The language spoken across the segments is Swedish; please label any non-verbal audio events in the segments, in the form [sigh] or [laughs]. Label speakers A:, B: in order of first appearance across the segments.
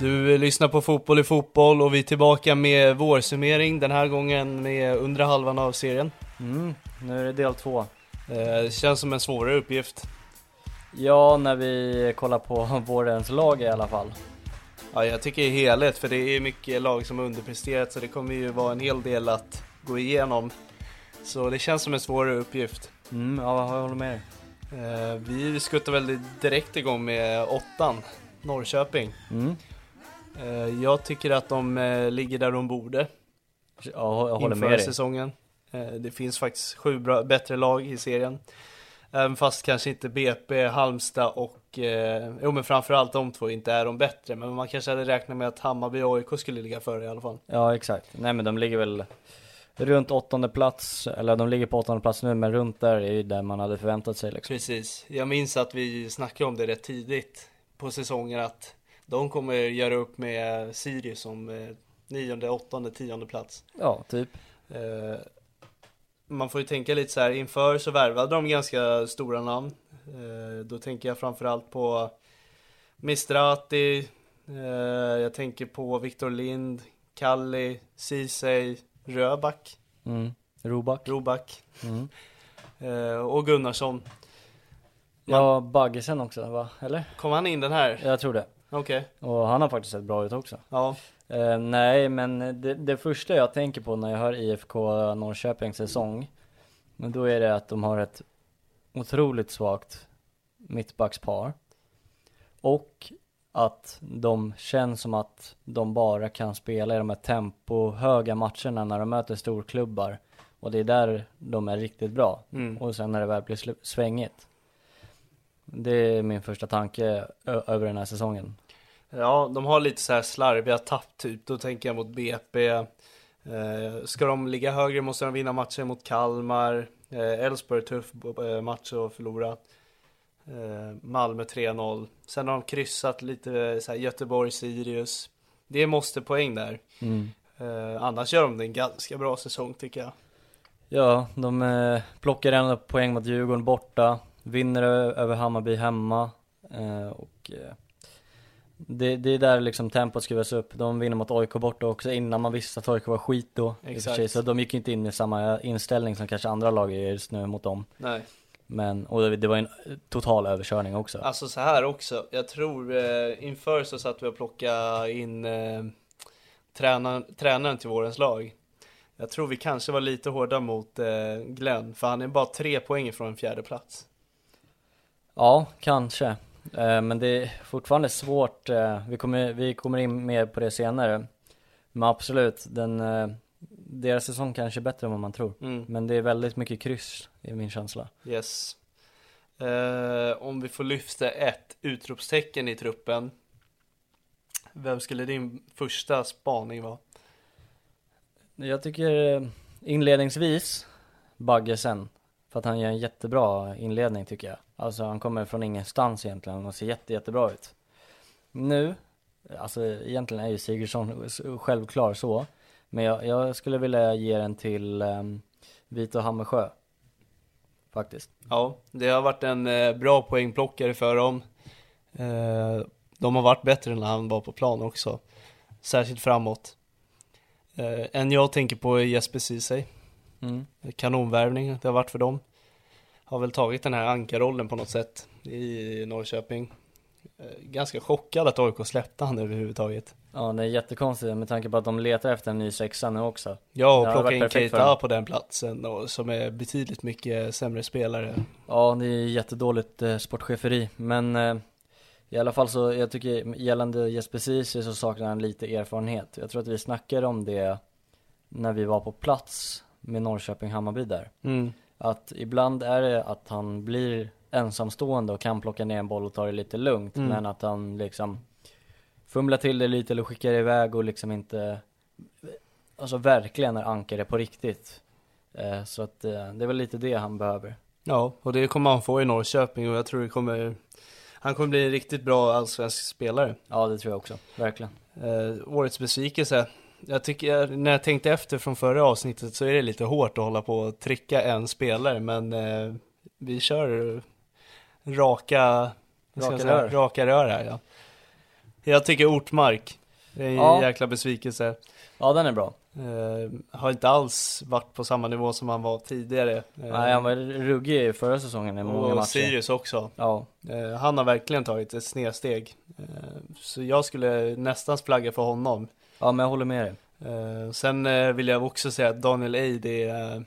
A: Du lyssnar på Fotboll i fotboll och vi är tillbaka med vårsummering, den här gången med undre halvan av serien.
B: Mm, nu är det del två.
A: Eh, känns som en svårare uppgift.
B: Ja, när vi kollar på [laughs] vårens lag i alla fall.
A: Ja, jag tycker i helhet, för det är mycket lag som har underpresterat så det kommer ju vara en hel del att gå igenom. Så det känns som en svårare uppgift.
B: Mm, ja, jag håller med dig.
A: Eh, vi skuttar väl direkt igång med åttan, Norrköping.
B: Mm.
A: Eh, jag tycker att de eh, ligger där de borde.
B: Ja, jag håller
A: inför
B: med dig.
A: säsongen. Eh, Det finns faktiskt sju bra, bättre lag i serien. Även fast kanske inte BP, Halmstad och, eh, jo men framförallt de två inte är de bättre. Men man kanske hade räknat med att Hammarby och AIK skulle ligga före i alla fall.
B: Ja, exakt. Nej, men de ligger väl runt åttonde plats, eller de ligger på åttonde plats nu, men runt där är ju där man hade förväntat sig liksom.
A: Precis, jag minns att vi snackade om det rätt tidigt på säsongen att de kommer göra upp med Sirius om eh, nionde, åttonde, tionde plats.
B: Ja, typ.
A: Eh, man får ju tänka lite så här, inför så värvade de ganska stora namn. Eh, då tänker jag framförallt på Mistrati, eh, jag tänker på Viktor Lind, Kalli, Ceesay, Röback,
B: Mm. Roback.
A: Roback
B: Mm.
A: eh, och Gunnarsson.
B: Ja, Baggesen också va? Eller?
A: Kom han in den här?
B: Jag tror det.
A: Okej,
B: Och han har faktiskt sett bra ut också.
A: ja.
B: Eh, nej, men det, det första jag tänker på när jag hör IFK Norrköpings säsong, men då är det att de har ett otroligt svagt mittbackspar. Och att de känns som att de bara kan spela i de här tempohöga matcherna när de möter storklubbar. Och det är där de är riktigt bra.
A: Mm.
B: Och sen när det väl blir slu- svängigt. Det är min första tanke ö- över den här säsongen.
A: Ja, de har lite så här slarviga tapp typ. Då tänker jag mot BP. Eh, ska de ligga högre måste de vinna matcher mot Kalmar. Eh, Elfsborg, tuff eh, match att förlora. Eh, Malmö 3-0. Sen har de kryssat lite eh, så här Göteborg, Sirius. Det är måste poäng där. Eh, annars gör de det en ganska bra säsong tycker jag.
B: Ja, de eh, plockar en poäng mot Djurgården borta, vinner ö- över Hammarby hemma eh, och eh, det, det är där liksom tempot skruvas upp. De vinner mot AIK borta också innan man visste att AIK var skit då. i och för
A: Exakt.
B: sig. Så de gick ju inte in i samma eh, inställning som kanske andra lag är just nu mot dem.
A: Nej.
B: Men, och det, det var en eh, total överkörning också.
A: Alltså så här också, jag tror eh, inför så satt vi och plockade in eh, tränaren, tränaren till vårens lag. Jag tror vi kanske var lite hårda mot eh, Glenn, för han är bara tre poäng ifrån en fjärde plats.
B: Ja, kanske. Eh, Men det är fortfarande svårt. eh, Vi kommer, vi kommer in mer på det senare. Men absolut, den, eh, deras säsong kanske är bättre än vad man tror.
A: Mm.
B: Men det är väldigt mycket kryss, i min känsla.
A: Yes. Eh, om vi får lyfta ett utropstecken i truppen. Vem skulle din första spaning vara?
B: Jag tycker eh, inledningsvis Baggesen. För att han gör en jättebra inledning tycker jag. Alltså han kommer från ingenstans egentligen och ser jätte, jättebra ut. Nu, alltså egentligen är ju Sigurdsson s- självklar så. Men jag, jag skulle vilja ge den till um, Vito Hammersjö. Faktiskt.
A: Ja, det har varit en eh, bra poängplockare för dem. Eh, de har varit bättre när han var på plan också. Särskilt framåt. Eh, en jag tänker på är Jesper Ceesay.
B: Mm.
A: Kanonvärvning det har varit för dem. Har väl tagit den här ankarrollen på något sätt i Norrköping. Eh, Ganska chockad att AIK släppte han överhuvudtaget.
B: Ja, det är jättekonstigt med tanke på att de letar efter en ny sexa nu också.
A: Ja,
B: Det
A: och
B: hade
A: plocka
B: varit
A: in
B: perfekt för
A: Keita
B: honom.
A: på den platsen och, som är betydligt mycket sämre spelare.
B: Ja, det är jättedåligt eh, sportcheferi, men eh, i alla fall så, jag tycker gällande Jesper Ceesay så saknar han lite erfarenhet. Jag tror att vi snackade om det när vi var på plats med Norrköping-Hammarby där. Att ibland är det att han blir ensamstående och kan plocka ner en boll och ta det lite lugnt, men att han liksom fumlar till det lite eller skickar iväg och liksom inte, alltså verkligen är ankare på riktigt. Eh, Så att eh, det är väl lite det han behöver.
A: Ja, och det kommer han få i Norrköping och jag tror det kommer Han kommer bli en riktigt bra allsvensk spelare
B: Ja det tror jag också, verkligen.
A: eh, Årets besvikelse Jag tycker, när jag tänkte efter från förra avsnittet så är det lite hårt att hålla på och tricka en spelare men eh, Vi kör raka vad ska jag
B: Raka
A: säga?
B: rör.
A: raka rör här ja Jag tycker Ortmark Det är en
B: Ja.
A: jäkla besvikelse
B: Ja den är bra.
A: eh, Har inte alls varit på samma nivå som han var tidigare eh,
B: Nej han var ruggig i förra säsongen i många matcher.
A: Och Sirius också
B: Ja,
A: Eh, Han har verkligen tagit ett snedsteg. Eh, Så jag skulle nästan flagga för honom.
B: ja men jag håller med dig.
A: Eh, Sen eh, vill jag också säga att Daniel Eid är... eh,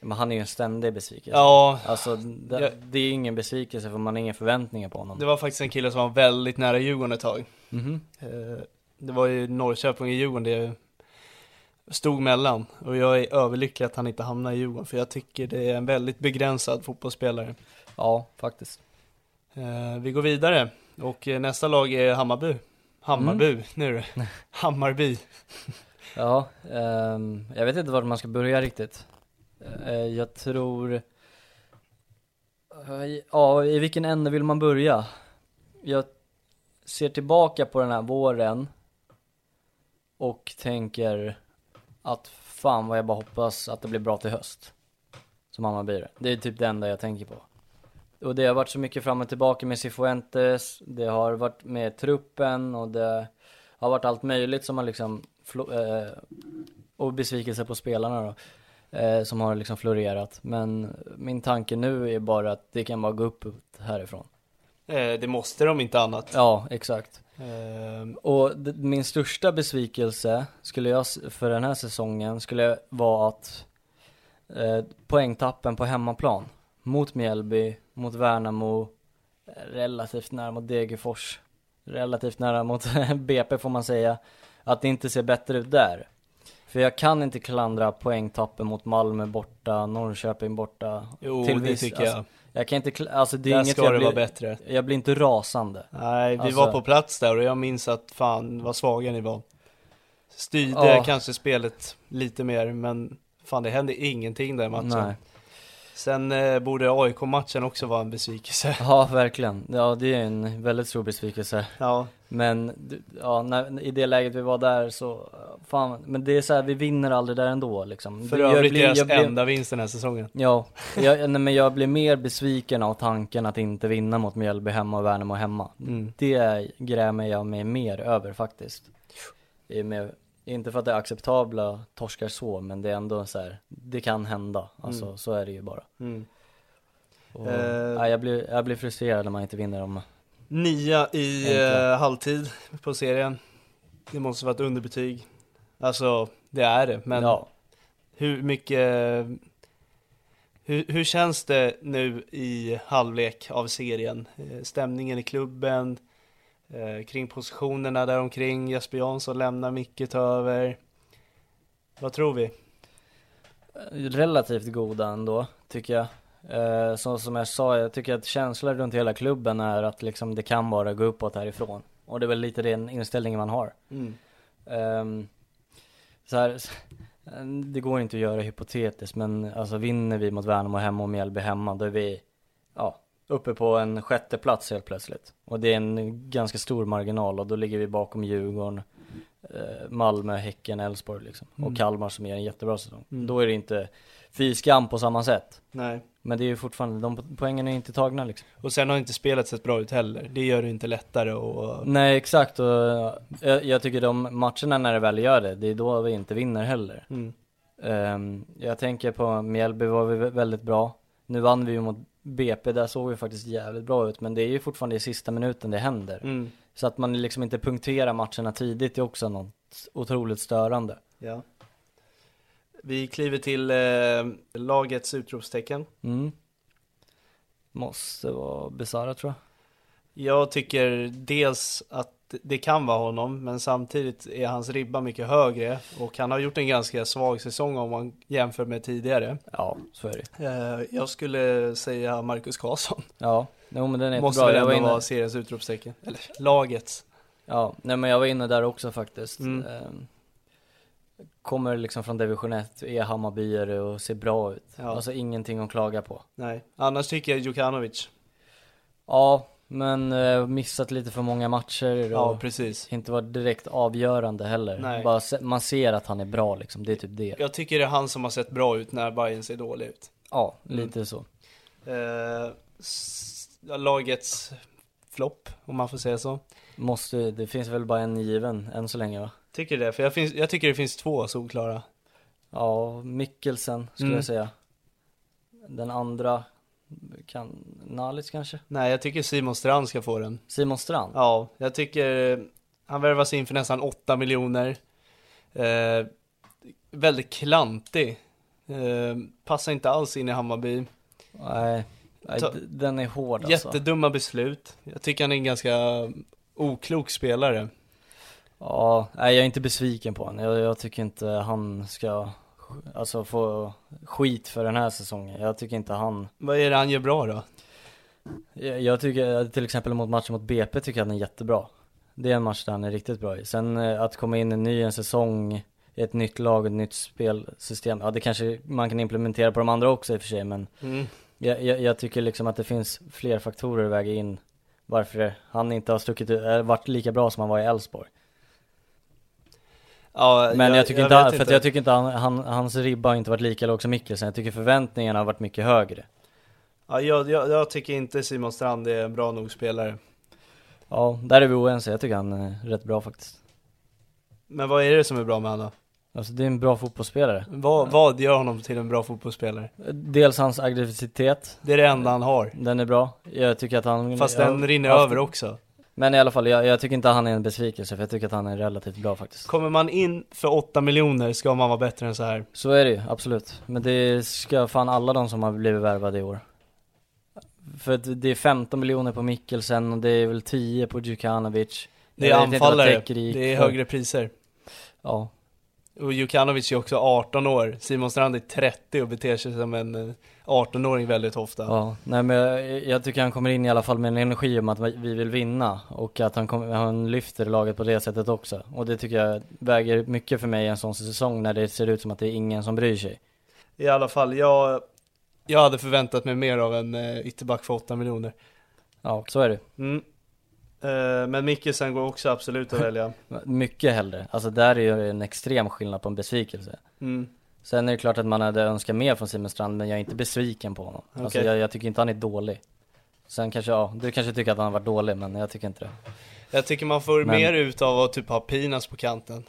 B: Men han är ju en ständig besvikelse.
A: Ja,
B: Alltså det,
A: Ja.
B: det är ingen besvikelse för man har inga förväntningar på honom.
A: det var faktiskt en kille som var väldigt nära Djurgården ett tag.
B: Mhm.
A: Eh, Det var ju Norrköping och Djurgården det stod mellan. Och jag är överlycklig att han inte hamnar i Djurgården för jag tycker det är en väldigt begränsad fotbollsspelare.
B: Ja, faktiskt.
A: Eh, Vi går vidare och eh, nästa lag är Hammarby. Hammarby, nu [laughs] är det. Hammarby.
B: Ja, ehm, jag vet inte vart man ska börja riktigt. Eh, jag tror... Eh, ja, i vilken ände vill man börja? Jag ser tillbaka på den här våren och tänker att fan vad jag bara hoppas att det blir bra till höst. Som Hammarby. Det är typ det enda jag tänker på. Och det har varit så mycket fram och tillbaka med Cifuentes, det har varit med truppen och det har varit allt möjligt som har liksom flo- eh, och besvikelse på spelarna då. Eh, som har liksom florerat. Men min tanke nu är bara att det kan bara gå upp härifrån.
A: Eh, Det måste de inte annat.
B: Ja, exakt.
A: Ehm,
B: Och d- min största besvikelse skulle jag, s- för den här säsongen skulle vara att eh, poängtappen på hemmaplan mot Mjällby, mot Värnamo, eh, relativt nära mot Degerfors, relativt nära mot [laughs] BP får man säga, att det inte ser bättre ut där. För jag kan inte klandra poängtappen mot Malmö borta, Norrköping borta.
A: Jo, det tycker jag.
B: Alltså, jag kan inte, kla- alltså det är
A: Där
B: inget
A: ska
B: jag
A: det
B: blir,
A: vara bättre.
B: Jag blir inte rasande.
A: Nej, vi
B: Alltså-
A: var på plats där och jag minns att fan vad svaga ni var. Styrde
B: Ja.
A: kanske spelet lite mer, men fan det hände ingenting där i matchen.
B: Nej.
A: Sen eh, borde AIK-matchen också vara en besvikelse.
B: [laughs] Ja, verkligen. Ja, det är en väldigt stor besvikelse.
A: Ja,
B: Men du- ja, när, i det läget vi var där så, fan, men det är så här, vi vinner aldrig där ändå liksom.
A: för
B: Det- jag
A: övrigt
B: blir-
A: deras
B: jag blir-
A: enda vinst den här säsongen.
B: [laughs] Ja, jag, nej, men jag blir mer besviken av tanken att inte vinna mot Mjällby hemma och Värnamo hemma.
A: Mm.
B: Det grämer jag mig mer över faktiskt. I och Med, inte för att det är acceptabla torskar så, men det är ändå så här, det kan hända. Alltså så är det ju bara. Och,
A: Mm. Eh.
B: nej, jag, blir, jag blir frustrerad när man inte vinner dem.
A: Nia i
B: Enkla.
A: eh, halvtid på serien. Det måste vara ett underbetyg. Alltså, det är det, men
B: ja.
A: Hur mycket hur, hur känns det nu i halvlek av serien? Eh, Stämningen i klubben, eh, kring positionerna där omkring. Jesper Jansson lämnar, Micke tar över. Vad tror vi?
B: relativt goda ändå, tycker jag. Eh, så som jag sa, jag tycker att känslan runt hela klubben är att liksom det kan bara gå uppåt härifrån. Och det är väl lite den inställningen man har.
A: Mm.
B: Ehm, så här, det går inte att göra hypotetiskt, men alltså vinner vi mot Värnamo hemma och Mjällby hemma, då är vi ja, uppe på en sjätte plats helt plötsligt. Och det är en ganska stor marginal och då ligger vi bakom Djurgården, eh, Malmö, Häcken, Elfsborg liksom.
A: Mm.
B: Och Kalmar som gör en jättebra säsong.
A: Mm.
B: Då är det inte fy skam på samma sätt.
A: Nej.
B: Men det är ju fortfarande, de po- poängen är ju inte tagna liksom.
A: Och sen har inte spelet sett bra ut heller. Det gör det inte lättare och...
B: Nej exakt och eh, jag, jag tycker de matcherna när det väl gör det, det är då vi inte vinner heller.
A: Mm.
B: Ehm, jag tänker på Mjällby var vi vä- väldigt bra. Nu vann vi ju mot BP, där såg vi faktiskt jävligt bra ut. Men det är ju fortfarande i sista minuten det händer.
A: Mm.
B: Så att man liksom inte punkterar matcherna tidigt är också något otroligt störande.
A: Ja. Vi kliver till eh, lagets utropstecken.
B: Mm. Måste vara Besara tror jag.
A: Jag tycker dels att det kan vara honom, men samtidigt är hans ribba mycket högre och han har gjort en ganska svag säsong om man jämför med tidigare.
B: Ja, så är det ju.
A: Eh, Jag skulle säga Marcus Karlsson.
B: Ja, jo men den är
A: Måste
B: bra.
A: väl ändå vara seriens utropstecken. Eller lagets.
B: Ja, nej men jag var inne där också faktiskt.
A: Mm.
B: Ehm, kommer liksom från division 1, är Hammarbyare och ser bra ut.
A: Ja.
B: Alltså ingenting att klaga på.
A: Nej, annars tycker jag Djukanovic.
B: Ja, men eh, missat lite för många matcher och
A: Ja, precis.
B: inte varit direkt avgörande heller.
A: Nej.
B: Bara se, man ser att han är bra liksom, det är typ det.
A: Jag tycker det är han som har sett bra ut när Bayern ser dålig ut.
B: Ja, lite så.
A: Eh, s- lagets flopp, om man får säga så.
B: Måste, det finns väl bara en given än så länge va?
A: Tycker det, för jag, finns, jag tycker det finns två solklara.
B: Ja, Mikkelsen skulle
A: Mm.
B: jag säga. Den andra, kan, Nalic kanske?
A: Nej, jag tycker Simon Strand ska få den.
B: Simon Strand?
A: Ja, jag tycker han värvas in för nästan 8 miljoner. Eh, väldigt klantig. Eh, passar inte alls in i Hammarby.
B: Nej, nej
A: Ta-
B: d- den är hård alltså.
A: Jättedumma beslut. Jag tycker han är en ganska oklok spelare.
B: Ja, nej jag är inte besviken på honom. Jag, jag tycker inte han ska, sk- alltså få skit för den här säsongen. Jag tycker inte han
A: Vad är det han gör bra då?
B: Jag jag tycker eh, till exempel mot matchen mot BP tycker jag att han är jättebra. Det är en match där han är riktigt bra i. Sen eh, att komma in i en ny en säsong, ett nytt lag, ett nytt spelsystem. Ja det kanske man kan implementera på de andra också i och för sig men
A: Mm.
B: jag, jag, jag tycker liksom att det finns fler faktorer att väga in varför han inte har stuckit ut, eller varit lika bra som han var i Elfsborg.
A: Ja,
B: Men jag, tycker inte,
A: vet
B: han- för att jag tycker inte han, han, hans ribba har inte varit lika låg som Mikkelsen. Jag tycker förväntningarna har varit mycket högre.
A: ja, jag, jag, jag tycker inte Simon Strand är en bra nog spelare.
B: Ja, där är vi oense. Jag tycker han är rätt bra faktiskt.
A: Men vad är det som är bra med honom?
B: Alltså det är en bra fotbollsspelare.
A: Vad, vad gör honom till en bra fotbollsspelare?
B: Dels hans aggressivitet,
A: Det är det enda han har.
B: den är bra. Jag tycker att han...
A: Fast den
B: jag-
A: rinner
B: haft-
A: över också.
B: Men i alla fall, jag, jag tycker inte han är en besvikelse för jag tycker att han är relativt bra faktiskt.
A: Kommer man in för 8 miljoner ska man vara bättre än så här.
B: Så är det ju, absolut. Men det ska fan alla de som har blivit värvade i år. För att det är 15 miljoner på Mikkelsen och det är väl 10 på Djukanovic.
A: Det är
B: Jag vet inte vad
A: anfallare,
B: täcker gick
A: det är
B: för.
A: högre priser.
B: Ja,
A: Och Jukanovic är också 18 år, Simon Strand är 30 och beter sig som en eh, 18-åring väldigt ofta.
B: ja. Nej men jag, jag tycker han kommer in i alla fall med en energi om att vi vill vinna. Och att han, kom, han lyfter laget på det sättet också. Och det tycker jag väger mycket för mig i en sån säsong när det ser ut som att det är ingen som bryr sig.
A: I alla fall, jag, jag hade förväntat mig mer av en eh, ytterback för 8 miljoner.
B: Ja, så är det.
A: Mm. Eh, men Mikkelsen går också absolut att
B: [laughs]
A: välja.
B: Mycket hellre. Alltså där är ju en extrem skillnad på en besvikelse.
A: Mm.
B: Sen är det klart att man hade önskat mer från Simon Strand, men jag är inte besviken på honom. Alltså
A: Okej.
B: jag, jag tycker inte han är dålig. Sen kanske, ja, du kanske tycker att han har varit dålig, men jag tycker inte det.
A: Jag tycker man får
B: Men-
A: mer ut av att typ ha Pinas på kanten.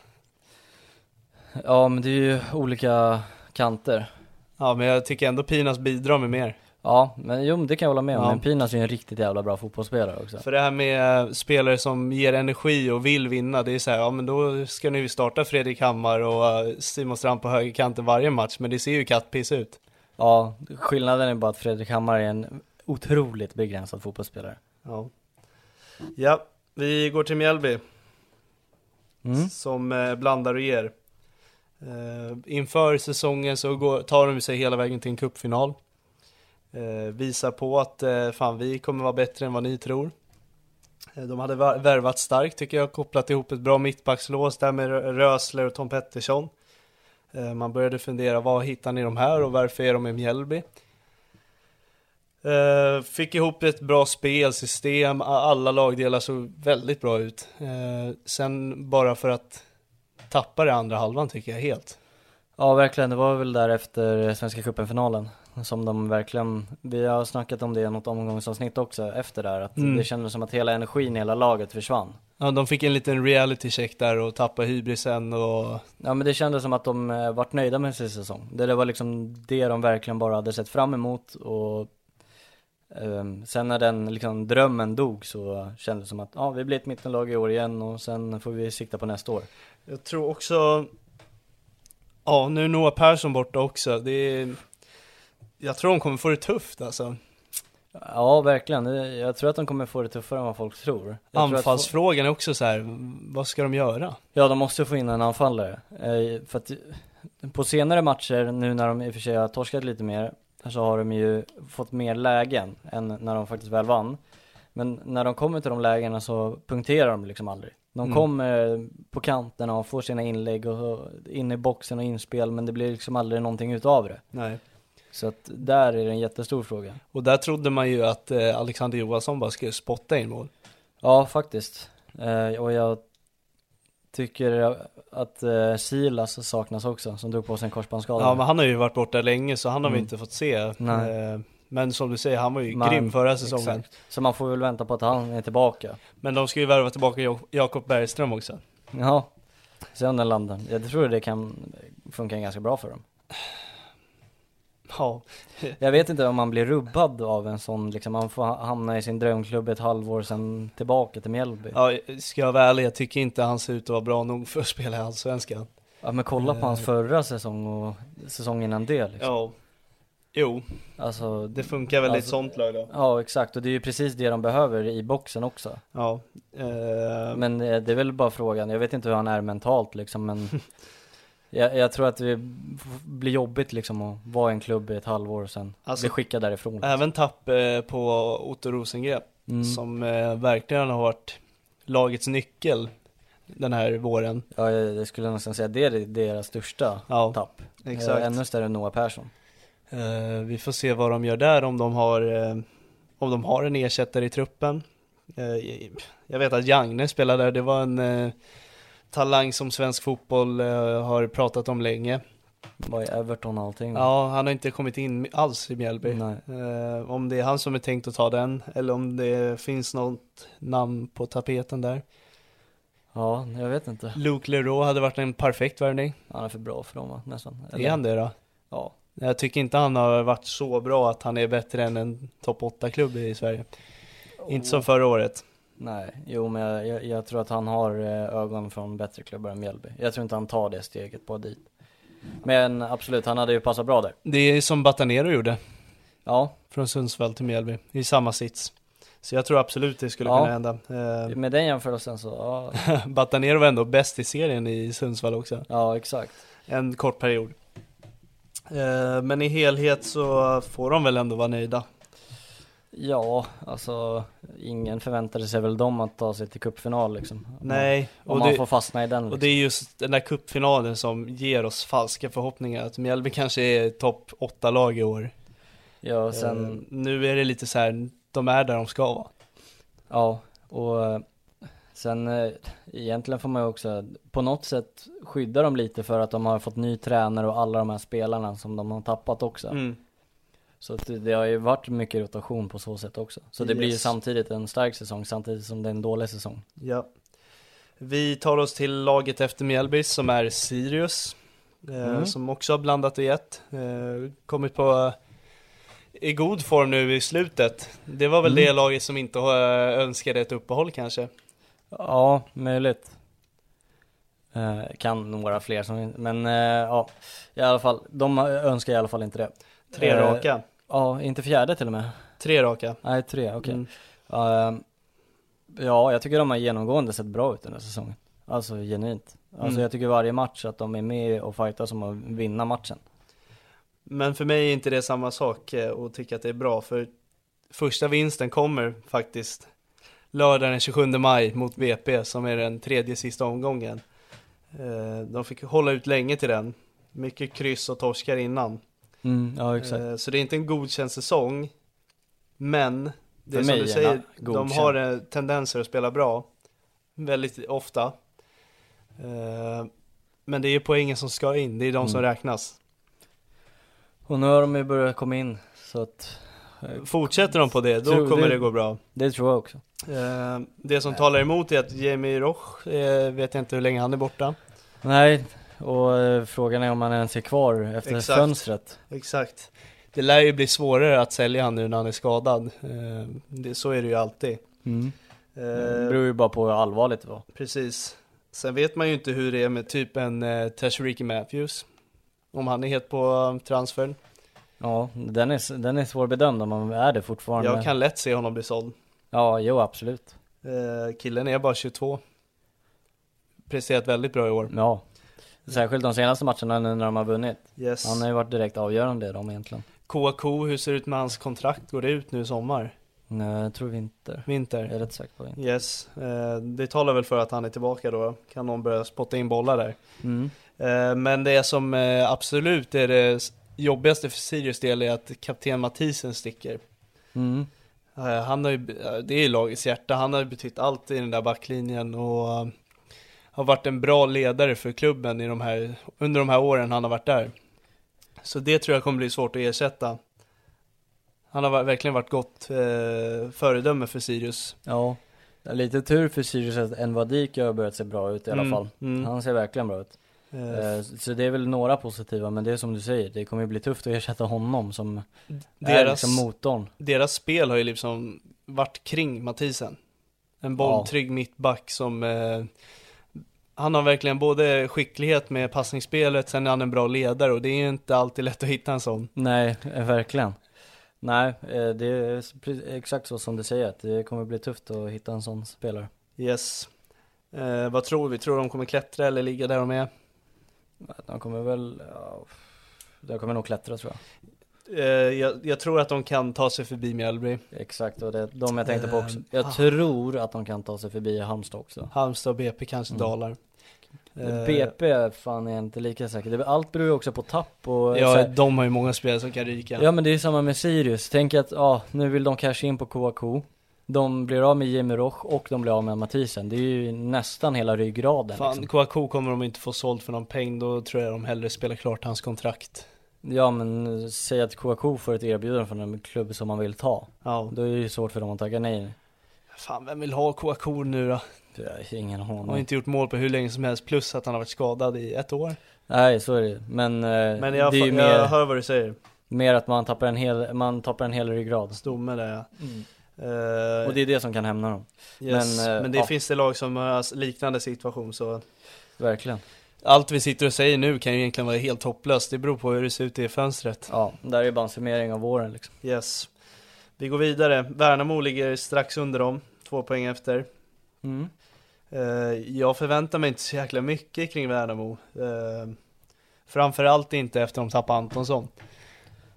B: Ja, men det är ju olika kanter.
A: Ja, men jag tycker ändå Pinas bidrar med mer.
B: Ja, men jo, men det kan jag hålla med om.
A: Ja.
B: Men Pinas är ju en riktigt jävla bra fotbollsspelare också.
A: För det här med eh, spelare som ger energi och vill vinna, det är så här, ja men då ska ni ju starta Fredrik Hammar och eh, Simon Strand på högerkanten varje match, men det ser ju kattpiss ut.
B: Ja, skillnaden är bara att Fredrik Hammar är en otroligt begränsad fotbollsspelare.
A: Ja. ja, vi går till Mjällby
B: Mm.
A: som eh, blandar och ger. Eh, inför säsongen så går, tar de sig hela vägen till en cupfinal. eh, visar på att eh, fan vi kommer vara bättre än vad ni tror. Eh, De hade vär- värvat starkt tycker jag, kopplat ihop ett bra mittbackslås där med Rö- Rösler och Tom Pettersson. Eh, Man började fundera, vad hittar ni de här och varför är de i Mjällby? Eh, Fick ihop ett bra spelsystem, A- alla lagdelar såg väldigt bra ut. Eh, Sen bara för att tappa det andra halvan tycker jag helt.
B: Ja verkligen, det var väl där efter Svenska cupen-finalen som de verkligen, vi har snackat om det i något omgångsavsnitt också efter där, att
A: Mm.
B: det kändes som att hela energin i hela laget försvann.
A: Ja, de fick en liten reality check där och tappade hybrisen och...
B: Ja men det kändes som att de eh, vart nöjda med sin säsong. Det, det var liksom det de verkligen bara hade sett fram emot och ehm, sen när den liksom drömmen dog så kändes det som att ja, vi blir ett mittenlag i år igen och sen får vi sikta på nästa år.
A: Jag tror också... Ja, nu är Noah Persson borta också. Det är... Jag tror de kommer få det tufft alltså.
B: Ja verkligen, Det- jag tror att de kommer få det tuffare än vad folk tror. Jag tror att fo-
A: Anfallsfrågan är också så här, vad ska de göra?
B: Ja, de måste få in en anfallare. Eh, För att på senare matcher, nu när de i och för sig har torskat lite mer, så har de ju fått mer lägen än när de faktiskt väl vann. Men när de kommer till de lägena så punkterar de liksom aldrig. De
A: Mm.
B: kommer på kanterna och får sina inlägg och in i boxen och inspel, men det blir liksom aldrig någonting utav det.
A: Nej.
B: Så att där är det en jättestor fråga.
A: Och där trodde man ju att eh, Alexander Johansson bara skulle spotta in mål.
B: Ja, faktiskt. Eh, och jag tycker att eh, Silas saknas också, som drog på sig en korsbandsskada.
A: Ja, men han har ju varit borta länge så han har vi
B: Mm.
A: inte fått se.
B: Nej.
A: Eh, Men som du säger, han var ju
B: Man-
A: grym förra säsongen.
B: Exakt. Så man får väl vänta på att han är tillbaka.
A: Men de ska ju värva tillbaka Jak- Jakob Bergström också.
B: Ja, se om den landar. Jag tror det kan funka ganska bra för dem.
A: Ja,
B: Jag vet inte om man blir rubbad av en sån, liksom man får ha- hamna i sin drömklubb ett halvår sen tillbaka till Mjällby. Ja,
A: Ja, ska jag vara ärlig, jag tycker inte han ser ut att vara bra nog för att spela i Allsvenskan.
B: men kolla på hans förra säsong och säsongen innan det liksom.
A: Ja. Jo,
B: Alltså,
A: det funkar väl i ett
B: Alltså-
A: sånt lag då.
B: ja exakt, och det är ju precis det de behöver i boxen också.
A: Ja. Eh,
B: Men eh, det är väl bara frågan, jag vet inte hur han är mentalt
A: [laughs]
B: liksom men jag, jag tror att det f- blir jobbigt liksom att vara i en klubb i ett halvår och sen
A: Alltså-
B: bli skickad därifrån.
A: Även tapp eh, på Otto Rosengren,
B: Mm.
A: som eh, verkligen har varit lagets nyckel den här våren.
B: Ja, jag, jag skulle nästan säga det är deras största
A: Ja,
B: tapp.
A: exakt.
B: Eh, Ännu större än Noah Persson.
A: Eh, vi får se vad de gör där, om de har, eh, om de har en ersättare i truppen. Eh, jag vet att Jagne spelade där, det var en eh, talang som svensk fotboll eh, har pratat om länge.
B: Var i Everton och allting.
A: Ja, han har inte kommit in alls i Mjällby.
B: Nej.
A: Eh, om det är han som är tänkt att ta den, eller om det finns något namn på tapeten där.
B: ja, jag vet inte.
A: Luke Leroux hade varit en perfekt värvning.
B: Han är för bra för dem va, nästan.
A: Är han det då?
B: Ja.
A: Jag tycker inte han har varit så bra att han är bättre än en topp 8-klubb i Sverige. Inte som förra året.
B: Nej, jo men jag, jag, jag tror att han har eh, ögon från bättre klubbar än Mjällby. Jag tror inte han tar det steget på dit. Men absolut, han hade ju passat bra där.
A: Det är som Batanero gjorde,
B: Ja,
A: från Sundsvall till Mjällby, i samma sits. Så jag tror absolut det skulle
B: Ja.
A: kunna hända. Eh,
B: med den jämförelsen så, ja,
A: [laughs] Batanero var ändå bäst i serien i Sundsvall också.
B: ja exakt.
A: en kort period. Eh, Men i helhet så får de väl ändå vara nöjda.
B: Ja, alltså ingen förväntade sig väl dem att ta sig till cupfinal liksom. Om man-
A: Nej,
B: Om
A: och
B: man
A: det,
B: får fastna i den liksom.
A: och det är just den där cupfinalen som ger oss falska förhoppningar att Mjällby kanske är topp 8-lag i år.
B: Ja, och sen,
A: Eh, Nu är det lite så här, de är där de ska vara.
B: ja, och eh, sen eh, egentligen får man ju också på något sätt skydda dem lite för att de har fått ny tränare och alla de här spelarna som de har tappat också.
A: Mm.
B: Så att det, det har ju varit mycket rotation på så sätt också. Så det blir ju
A: Yes.
B: samtidigt en stark säsong samtidigt som det är en dålig säsong.
A: Ja. Vi tar oss till laget efter Mjällby som är Sirius. eh,
B: Mm.
A: Som också har blandat och gett. Eh, kommit på i god form nu i slutet. Det var väl
B: Mm.
A: det laget som inte eh, önskade ett uppehåll kanske.
B: Ja, möjligt. Eh, kan några fler som men eh, ja, i alla fall, de önskar i alla fall inte det.
A: Tre
B: Eh,
A: raka.
B: Ja, inte fjärde till och med.
A: Tre raka.
B: Nej, tre, okej.
A: Mm.
B: Ehm, ja, jag tycker de har genomgående sett bra ut den här säsongen. Alltså genuint. Alltså
A: Mm.
B: jag tycker varje match att de är med och fightar som att vinna matchen.
A: Men för mig är inte det samma sak eh, och tycka att det är bra, för första vinsten kommer faktiskt lördagen den 27 maj mot BP som är den tredje sista omgången. Eh, De fick hålla ut länge till den, mycket kryss och torskar innan.
B: Mm, ja exakt.
A: Eh, Så det är inte en godkänd säsong, men det
B: För
A: är som
B: mig
A: du
B: är
A: säger,
B: den
A: de
B: godkänd.
A: har eh, tendenser att spela bra, väldigt ofta. Eh, Men det är ju poängen som ska in, det är de som
B: Mm.
A: räknas.
B: Och nu har de ju börjat komma in, så att
A: Fortsätter de på det, då
B: Tror
A: kommer
B: du-
A: det gå bra.
B: det tror jag också.
A: Eh, Det som talar emot är att Jamie Roch, eh, vet jag inte hur länge han är borta.
B: Nej, och eh, frågan är om han ens är kvar efter
A: Exakt.
B: fönstret.
A: Exakt. Det lär ju bli svårare att sälja han nu när han är skadad. Eh, Det, så är det ju alltid.
B: Mm. Det
A: Eh,
B: beror ju bara på hur allvarligt det var.
A: Precis. Sen vet man ju inte hur det är med typ en eh, Tashiriki Matthews. Om han är helt på eh, transfern.
B: Ja, den är, s- den är svårbedömd om man är det fortfarande.
A: Jag kan lätt se honom bli såld.
B: Ja, jo absolut.
A: Eh, Killen är bara 22. Presterat väldigt bra i år.
B: Ja. Särskilt de senaste matcherna nu när de har vunnit.
A: Yes.
B: Han har ju varit direkt avgörande i dem egentligen.
A: KK, hur ser det ut med hans kontrakt? Går det ut nu i sommar?
B: Nej, jag tror vinter. Jag
A: Vinter?
B: är rätt säker på vinter.
A: Yes, eh, det talar väl för att han är tillbaka då. Kan någon börja spotta in bollar där.
B: Mm.
A: Eh, Men det som eh, absolut är det s- jobbigaste för Sirius del är att kapten Mathisen sticker.
B: Mm.
A: Eh, Han har ju, be- eh, det är ju lagets hjärta, han har ju betytt allt i den där backlinjen och eh, har varit en bra ledare för klubben i de här, under de här åren han har varit där. Så det tror jag kommer bli svårt att ersätta. Han har va- verkligen varit gott eh, föredöme för Sirius.
B: Ja. Det är lite tur för Sirius att Envadika har börjat se bra ut i alla
A: Mm,
B: fall.
A: mm.
B: Han ser verkligen bra ut.
A: Eh,
B: Eh, Så det är väl några positiva, men det är som du säger, det kommer ju bli tufft att ersätta honom som är
A: Deras-
B: liksom motorn.
A: deras spel har ju liksom varit kring Mathisen. En bolltrygg mittback som eh, han har verkligen både skicklighet med passningsspelet, sen är han en bra ledare och det är ju inte alltid lätt att hitta en sån.
B: Nej, eh, verkligen. Nej, eh, det är s- pre- exakt så som du säger, att det kommer bli tufft att hitta en sån spelare.
A: Yes. Eh, vad tror vi? Tror de kommer klättra eller ligga där de är?
B: De kommer väl, ja, de kommer nog klättra tror jag.
A: Eh, jag, jag tror att de kan ta sig förbi Mjällby,
B: Exakt, och det är de jag tänkte på också.
A: Ehm,
B: Jag
A: ah.
B: tror att de kan ta sig förbi Halmstad också.
A: Halmstad och BP kanske dalar. Eh,
B: BP fan är jag inte lika säker, Det- allt beror ju också på tapp och så
A: Ja,
B: här-
A: de har ju många spelare som kan ryka.
B: Ja men det är ju samma med Sirius, tänk att ja, nu vill de casha in på KAK De blir av med Jimmy Roch och de blir av med Mathisen, det är ju nästan hela ryggraden
A: Fan,
B: liksom.
A: KAK kommer de inte få såld för någon peng, då tror jag de hellre spelar klart hans kontrakt.
B: Ja men eh, säg att KAK får ett erbjudande från en klubb som man vill ta,
A: Ja.
B: då är det ju svårt för dem att tacka nej
A: Fan, vem vill ha Kouakour nu då?
B: Jag har Ingen
A: Han
B: aning.
A: har inte gjort mål på hur länge som helst, plus att han har varit skadad i ett år.
B: Nej så är det ju. men, eh,
A: Men jag,
B: det är ju
A: jag
B: mer,
A: hör vad du säger,
B: mer att man tappar en hel, man tappar en hel ryggrad
A: stomme där ja. Eh,
B: Och det är det som kan hämna dem,
A: yes. Mm. men,
B: men, eh,
A: det
B: ja.
A: finns det lag som har liknande situation så
B: verkligen
A: Allt vi sitter och säger nu kan ju egentligen vara helt hopplöst, det beror på hur det ser ut i fönstret.
B: Ja, där är ju bara en summering av våren liksom
A: Yes. Vi går vidare, Värnamo ligger strax under dem, två poäng efter.
B: mm.
A: Eh, jag förväntar mig inte så jäkla mycket kring Värnamo. Uh, framförallt inte efter de tappade Antonsson.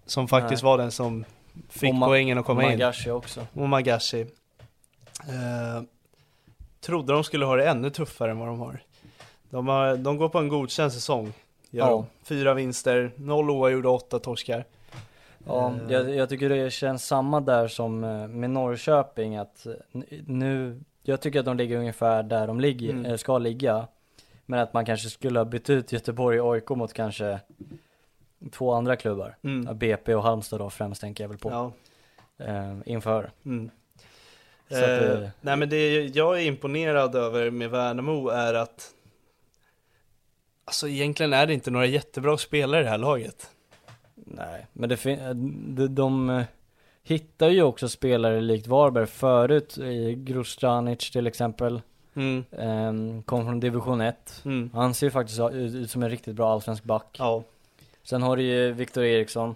A: Som faktiskt
B: Nej.
A: var den som fick
B: Och Ma-
A: poängen att komma in.
B: Magashi också
A: Och Magashi. Eh, trodde de skulle ha det ännu tuffare än vad de har. De, har, de går på en godkänd säsong. Gör
B: Ja.
A: de. Fyra vinster, noll oavgjorda, åtta torskar.
B: Ja,
A: Eh.
B: jag, jag tycker det känns samma där som eh, med Norrköping att eh, n- nu, jag tycker att de ligger ungefär där de ligger,
A: Mm.
B: eh, ska ligga. Men att man kanske skulle ha bytt ut Göteborg och AIK mot kanske två andra klubbar.
A: Mm.
B: Ja, BP och Halmstad då främst tänker jag väl på.
A: Ja.
B: Eh, inför.
A: Mm.
B: Så att,
A: Eh,
B: eh,
A: nej men det jag är imponerad över med Värnamo är att Alltså egentligen är det inte några jättebra spelare i det här laget.
B: Nej, men det fin- eh, de, de eh, hittar ju också spelare likt Varberg förut, i Grostanic till exempel.
A: Mm,
B: Eh, kom från division 1.
A: mm,
B: Han ser ju faktiskt ut ut som en riktigt bra allsvensk back.
A: ja.
B: Sen har du ju Viktor Eriksson,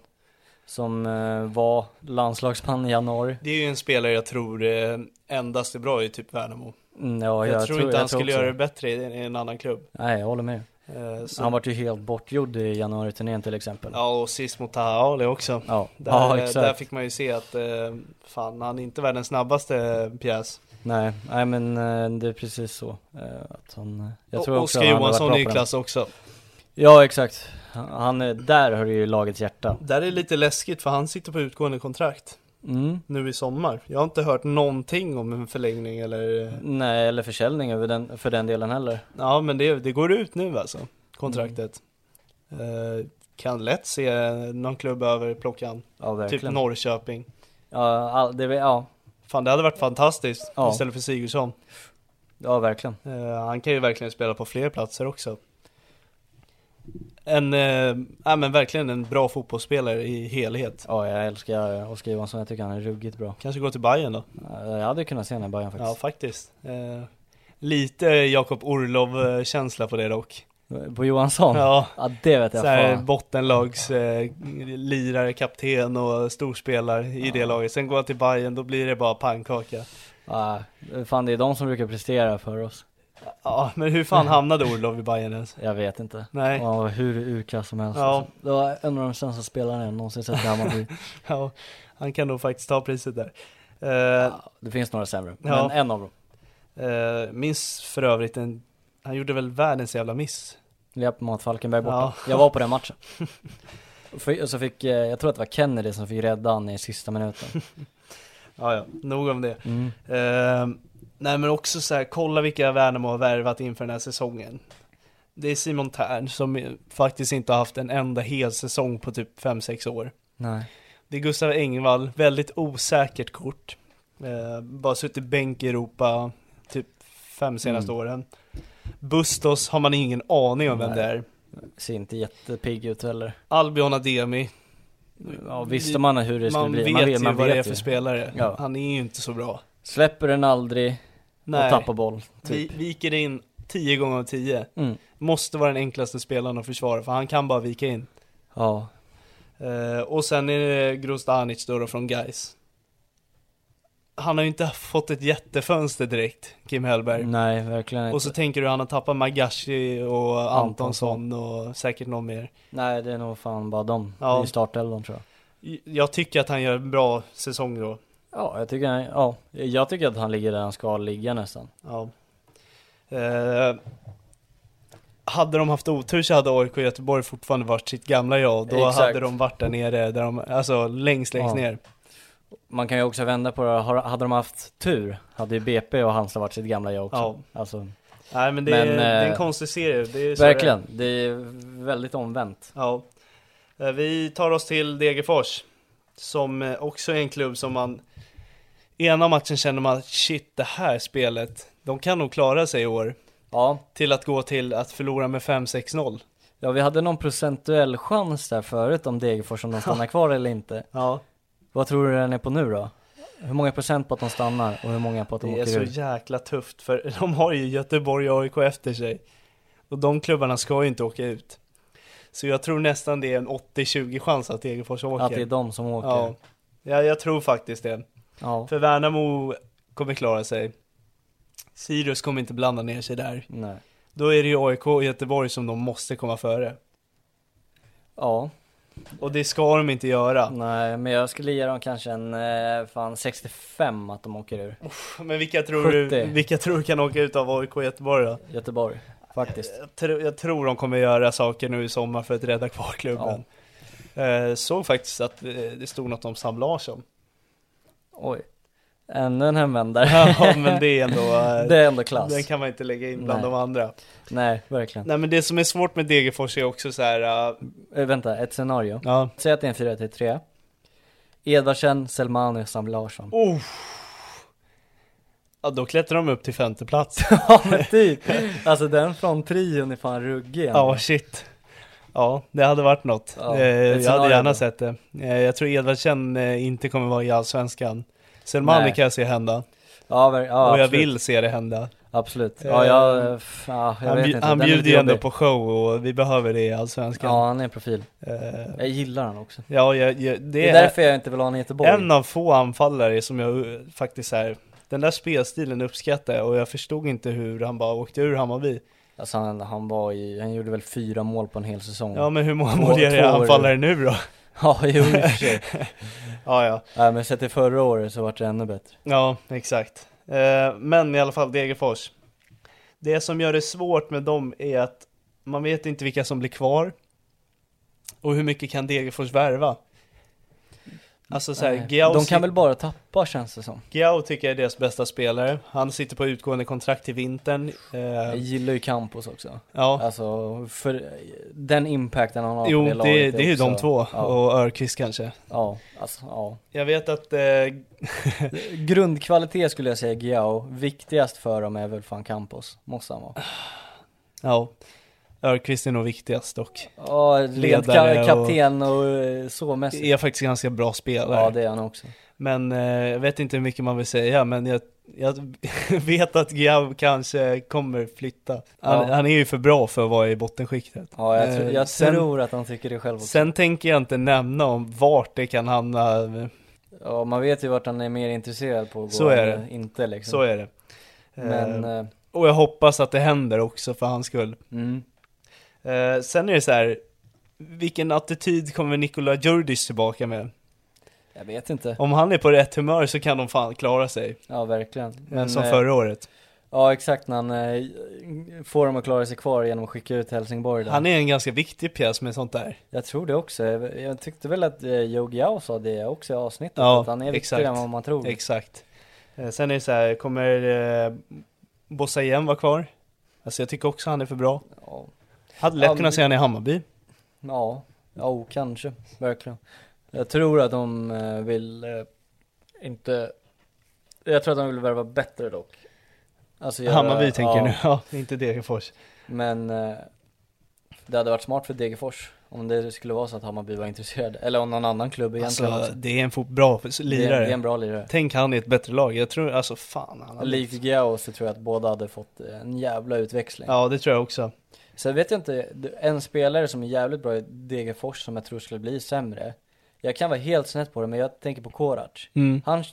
B: som eh, var landslagsman i januari.
A: Det är ju en spelare jag tror eh, endast är bra i typ Värnamo.
B: Mm, ja,
A: jag, tror inte
B: jag
A: han skulle
B: också-
A: göra det bättre i, i en annan klubb.
B: Nej, jag håller med.
A: Eh, så,
B: Han vart ju helt bortgjord i januari-turnén till exempel.
A: Ja, och sist mot Taha Ali också.
B: ja.
A: Där,
B: ja
A: eh,
B: exakt.
A: där fick man ju se att eh, fan, han är inte världens snabbaste pjäs.
B: Nej, nej men eh, det är precis så. eh, Att han, jag tror
A: och
B: också
A: Oskar
B: han hade varit
A: Johansson
B: bra
A: är ju
B: på den.
A: klass också.
B: Ja exakt. Han- Han, är- där har du ju lagets hjärta.
A: Där är det lite läskigt för han sitter på utgående kontrakt
B: Mm.
A: nu i sommar. Jag har inte hört någonting om en förlängning eller...
B: Nej, eller försäljning över den, för den delen heller.
A: Ja, men det, det går ut nu alltså, kontraktet.
B: Mm.
A: Eh, kan lätt se någon klubb över plockan,
B: Ja,
A: typ
B: verkligen.
A: Norrköping.
B: ja, all, det, är- ja,
A: Fan, det hade varit fantastiskt
B: Ja.
A: istället för Sigurdsson.
B: ja, verkligen.
A: Eh, han kan ju verkligen spela på fler platser också. En, eh, ja, men verkligen en bra fotbollsspelare i helhet.
B: Ja, jag älskar Oskar Johansson. Jag tycker han är ruggigt bra.
A: Kanske gå till Bayern då?
B: Eh, Jag hade kunnat se honom i Bayern
A: Ja,
B: faktiskt.
A: faktiskt. Eh, lite Jakob Orlov-känsla på det dock.
B: På Johansson? Ja.
A: Ja,
B: det vet jag
A: så här
B: fan.
A: bottenlags eh, lirare, kapten och storspelare i det laget. Sen går han till Bayern, då blir det bara pannkaka.
B: Ja, fan, det är de som brukar prestera för oss.
A: Ja, men hur
B: [laughs]
A: fan hamnade Orlov i Bayern ens?
B: Jag vet inte.
A: Nej.
B: Han var hur urkass som helst.
A: Ja.
B: Alltså. Det var en av de sämsta spelarna jag någonsin sett i Hammarby.
A: Ja, han kan nog faktiskt ta priset där. Eh,
B: Det finns några sämre,
A: Ja.
B: men en av dem.
A: Eh, minns för övrigt en, han gjorde väl världens jävla miss.
B: Lep mot Falkenberg borta.
A: Ja.
B: Jag var på
A: [laughs]
B: den matchen. För, så fick, eh, jag tror att det var Kennedy som fick rädda han i
A: [laughs]
B: sista minuten.
A: Ja, ja, nog om det.
B: Mm.
A: Eh, nej men också så här, kolla vilka Värnamo har värvat inför den här säsongen. Det är Simon Tern som eh, faktiskt inte har haft en enda hel säsong på typ 5-6 år.
B: Nej.
A: Det är Gustav Engvall, väldigt osäkert kort. Eh, bara suttit bänk i Europa typ fem senaste
B: Mm.
A: åren. Bustos har man ingen aning om vem
B: Nej.
A: det är.
B: Ser inte jättepigg ut heller.
A: Albion Ademi.
B: Ja, visste man hur det skulle
A: man
B: bli?
A: Vet ju
B: man
A: vad det är
B: ju.
A: för spelare.
B: Ja.
A: Han är ju inte så bra.
B: Släpper den aldrig och
A: Nej,
B: tappar boll.
A: vi
B: Typ.
A: viker in 10 gånger av 10.
B: Mm.
A: Måste vara den enklaste spelaren att försvara, för han kan bara vika in.
B: Ja.
A: Eh, och sen är det Grostanic då, då från Gais. Han har ju inte fått ett jättefönster direkt, Kim Hellberg.
B: Nej, verkligen inte.
A: Och så tänker du han har tappat Magashi och
B: Antonsson.
A: Antonsson och säkert någon mer.
B: Nej, det är nog fan bara dem
A: Ja.
B: i startelvan tror jag.
A: Jag tycker att han gör en bra säsong då.
B: Ja, jag tycker, han, ja, jag tycker att han ligger där han ska ligga nästan.
A: Ja. Eh, hade de haft otur så hade AIK och Göteborg fortfarande varit sitt gamla jag. Då
B: Exakt.
A: hade de varit där nere, där de, alltså längst, längst
B: Ja.
A: ner.
B: Man kan ju också vända på det, Har- hade de haft tur hade ju BP och Halmstad varit sitt gamla jag också.
A: Ja.
B: Alltså,
A: Nej men det,
B: Men,
A: är, det är en
B: eh,
A: konstig serie. Det är så
B: verkligen,
A: det
B: det är väldigt omvänt.
A: är. Ja. Eh, Vi tar oss till Degerfors. Som eh, också är en klubb som man... Ena matchen känner man shit det här spelet, de kan nog klara sig i år.
B: Ja,
A: Till att gå till att förlora med 5-6-0.
B: ja vi hade någon procentuell chans där förut om Degerfors [laughs] om de stannar kvar eller inte.
A: Ja.
B: Vad tror du den är på nu då? Hur många procent på att de stannar och hur många på att de
A: Det är
B: åker
A: så
B: ur?
A: jäkla tufft för [laughs] de har ju Göteborg och AIK efter sig. Och de klubbarna ska ju inte åka ut. Så jag tror nästan det är en 80-20 chans att Degerfors åker.
B: Att det är de som åker?
A: Ja.
B: Ja.
A: ja, jag tror faktiskt det. För Värnamo kommer klara sig. Sirius kommer inte blanda ner sig där.
B: Nej.
A: Då är det ju AIK och Göteborg som de måste komma före.
B: Ja,
A: Och det ska de inte göra.
B: nej men jag skulle ge dem kanske en, eh, fan 65 att de åker ur.
A: Men vilka tror, du,
B: 70.
A: vilka tror du kan åka ut av AIK och Göteborg då?
B: Göteborg, faktiskt.
A: Jag, tror- jag tror de kommer göra saker nu i sommar för att rädda kvar klubben. Eh, såg faktiskt att eh, det stod något om Sam
B: [laughs]
A: Larsson.
B: Oj. Ännu en hemvändare.
A: ja, men det är ändå... Eh,
B: [laughs] Det är ändå klass.
A: Den kan man inte lägga in bland
B: Nej.
A: de andra.
B: Nej, verkligen.
A: Nej men det som är svårt med Degerfors är också så här... eh,
B: Eh, vänta, ett scenario.
A: ja.
B: Säg att det är en 4 till 3 Edvardsen, Selmani och Sam Larsson.
A: Oh. ja, då klättrar de upp till femte plats.
B: [laughs] Ja men typ. Alltså den från trion är fan ruggig. ändå.
A: Ja, shit. Ja, det hade varit något.
B: Ja,
A: Eh,
B: ett
A: jag hade
B: scenario
A: gärna
B: då.
A: sett det. Eh, jag tror Edvardsen eh, inte kommer vara i Allsvenskan. Selmani
B: Nej.
A: kan jag se hända.
B: ja, ver- ja
A: och jag
B: absolut.
A: vill se det hända.
B: Absolut.
A: Eh,
B: Ja, jag, eh, f- ja, jag
A: han
B: vet
A: bju-
B: inte.
A: han
B: Den är
A: bjuder
B: lite
A: ju ändå
B: jobbig.
A: på show och vi behöver det i Allsvenskan.
B: Ja, han är en profil.
A: Eh,
B: Jag gillar han också.
A: ja jag, jag,
B: Det är,
A: det är,
B: därför jag inte vill ha honom i Göteborg.
A: en av få anfallare som jag eh, faktiskt är den där spelstilen uppskattar jag och jag förstod inte hur han bara åkte ur Hammarby.
B: Alltså han, han var i, han gjorde väl fyra mål på en hel säsong.
A: Ja men hur många
B: Två-
A: mål gör
B: två
A: det
B: år.
A: anfallare nu då?
B: [laughs] ja jo, i och
A: [laughs]
B: för sig.
A: Ja ja,
B: Nej men sett till förra året så vart det ännu bättre.
A: ja exakt. Eh, men i alla fall Degerfors. Det som gör det svårt med dem är att man vet inte vilka som blir kvar. Och hur mycket kan Degerfors värva? Alltså såhär,
B: Nej.
A: Giao,
B: De kan väl bara tappa känns det som.
A: Giao tycker jag är deras bästa spelare. Han sitter på utgående kontrakt till vintern. Eh,
B: Jag gillar ju Campos också.
A: ja.
B: Alltså, för den impacten han har
A: Jo,
B: på
A: det,
B: det laget
A: det, är ju de
B: också-
A: två.
B: Ja,
A: Och Örqvist kanske.
B: ja alltså, ja.
A: Jag vet att eh,
B: Grundkvalitet skulle jag säga Giao, viktigast för dem är väl fan Campos, måste han vara.
A: ja, Örqvist är nog viktigast dock.
B: Ja, rent
A: Ledare
B: ka-
A: och-
B: kapten och, eh, så mässigt.
A: Är faktiskt ganska bra spelare.
B: Ja, det är han också.
A: Men eh, jag vet inte hur mycket man vill säga, men jag, jag [laughs] vet att Giao kanske kommer flytta. Han,
B: Ja.
A: han är ju för bra för att vara i bottenskiktet.
B: Ja, jag, tr-
A: Eh,
B: jag
A: sen-
B: tror att han tycker det själv också.
A: Sen tänker jag inte nämna om vart det kan hamna,
B: Ja, man vet ju vart han är mer intresserad på att gå
A: Så är
B: än
A: det.
B: inte liksom.
A: så är det.
B: Men,
A: eh,
B: eh,
A: och jag hoppas att det händer också för hans skull.
B: mm,
A: Eh, sen är det så här, vilken attityd kommer Nikola Djurdjic tillbaka med?
B: jag vet inte.
A: Om han är på rätt humör så kan de fan klara sig,
B: Ja, verkligen.
A: men, som
B: eh,
A: förra året.
B: Ja, exakt, när han eh, får dem att klara sig kvar genom att skicka ut Helsingborg där.
A: Han är en ganska viktig pjäs med sånt där.
B: Jag tror det också. Jag jag tyckte väl att eh, Joe Giao sa det också i avsnittet,
A: Ja,
B: att han är
A: exakt.
B: viktigare än vad man tror.
A: Exakt. Eh, sen är det så här, kommer eh, Bossa igen vara kvar? Alltså jag tycker också han är för bra.
B: ja,
A: Hade lätt
B: Ja, men-
A: kunnat se han i Hammarby.
B: ja, ja, oh, kanske, verkligen. Jag tror att de eh, vill eh, inte, jag tror att de vill värva bättre dock. Alltså, göra-
A: Hammarby tänker
B: ja,
A: jag nu, [laughs] ja, inte Degerfors.
B: Men eh, det hade varit smart för Degerfors om det skulle vara så att Hammarby var intresserad, eller om någon annan klubb egentligen
A: Alltså
B: också.
A: det är en fot- bra
B: Det är,
A: lirare.
B: det är en bra lirare.
A: Tänk han i ett bättre lag, jag tror, alltså fan han hade-
B: Likt Giao så tror jag att båda hade fått eh, en jävla utväxling.
A: Ja det tror jag också.
B: Sen vet jag inte, en spelare som är jävligt bra i Degerfors som jag tror skulle bli sämre. Jag kan vara helt snett på det, men jag tänker på Korac.
A: Mm.
B: Han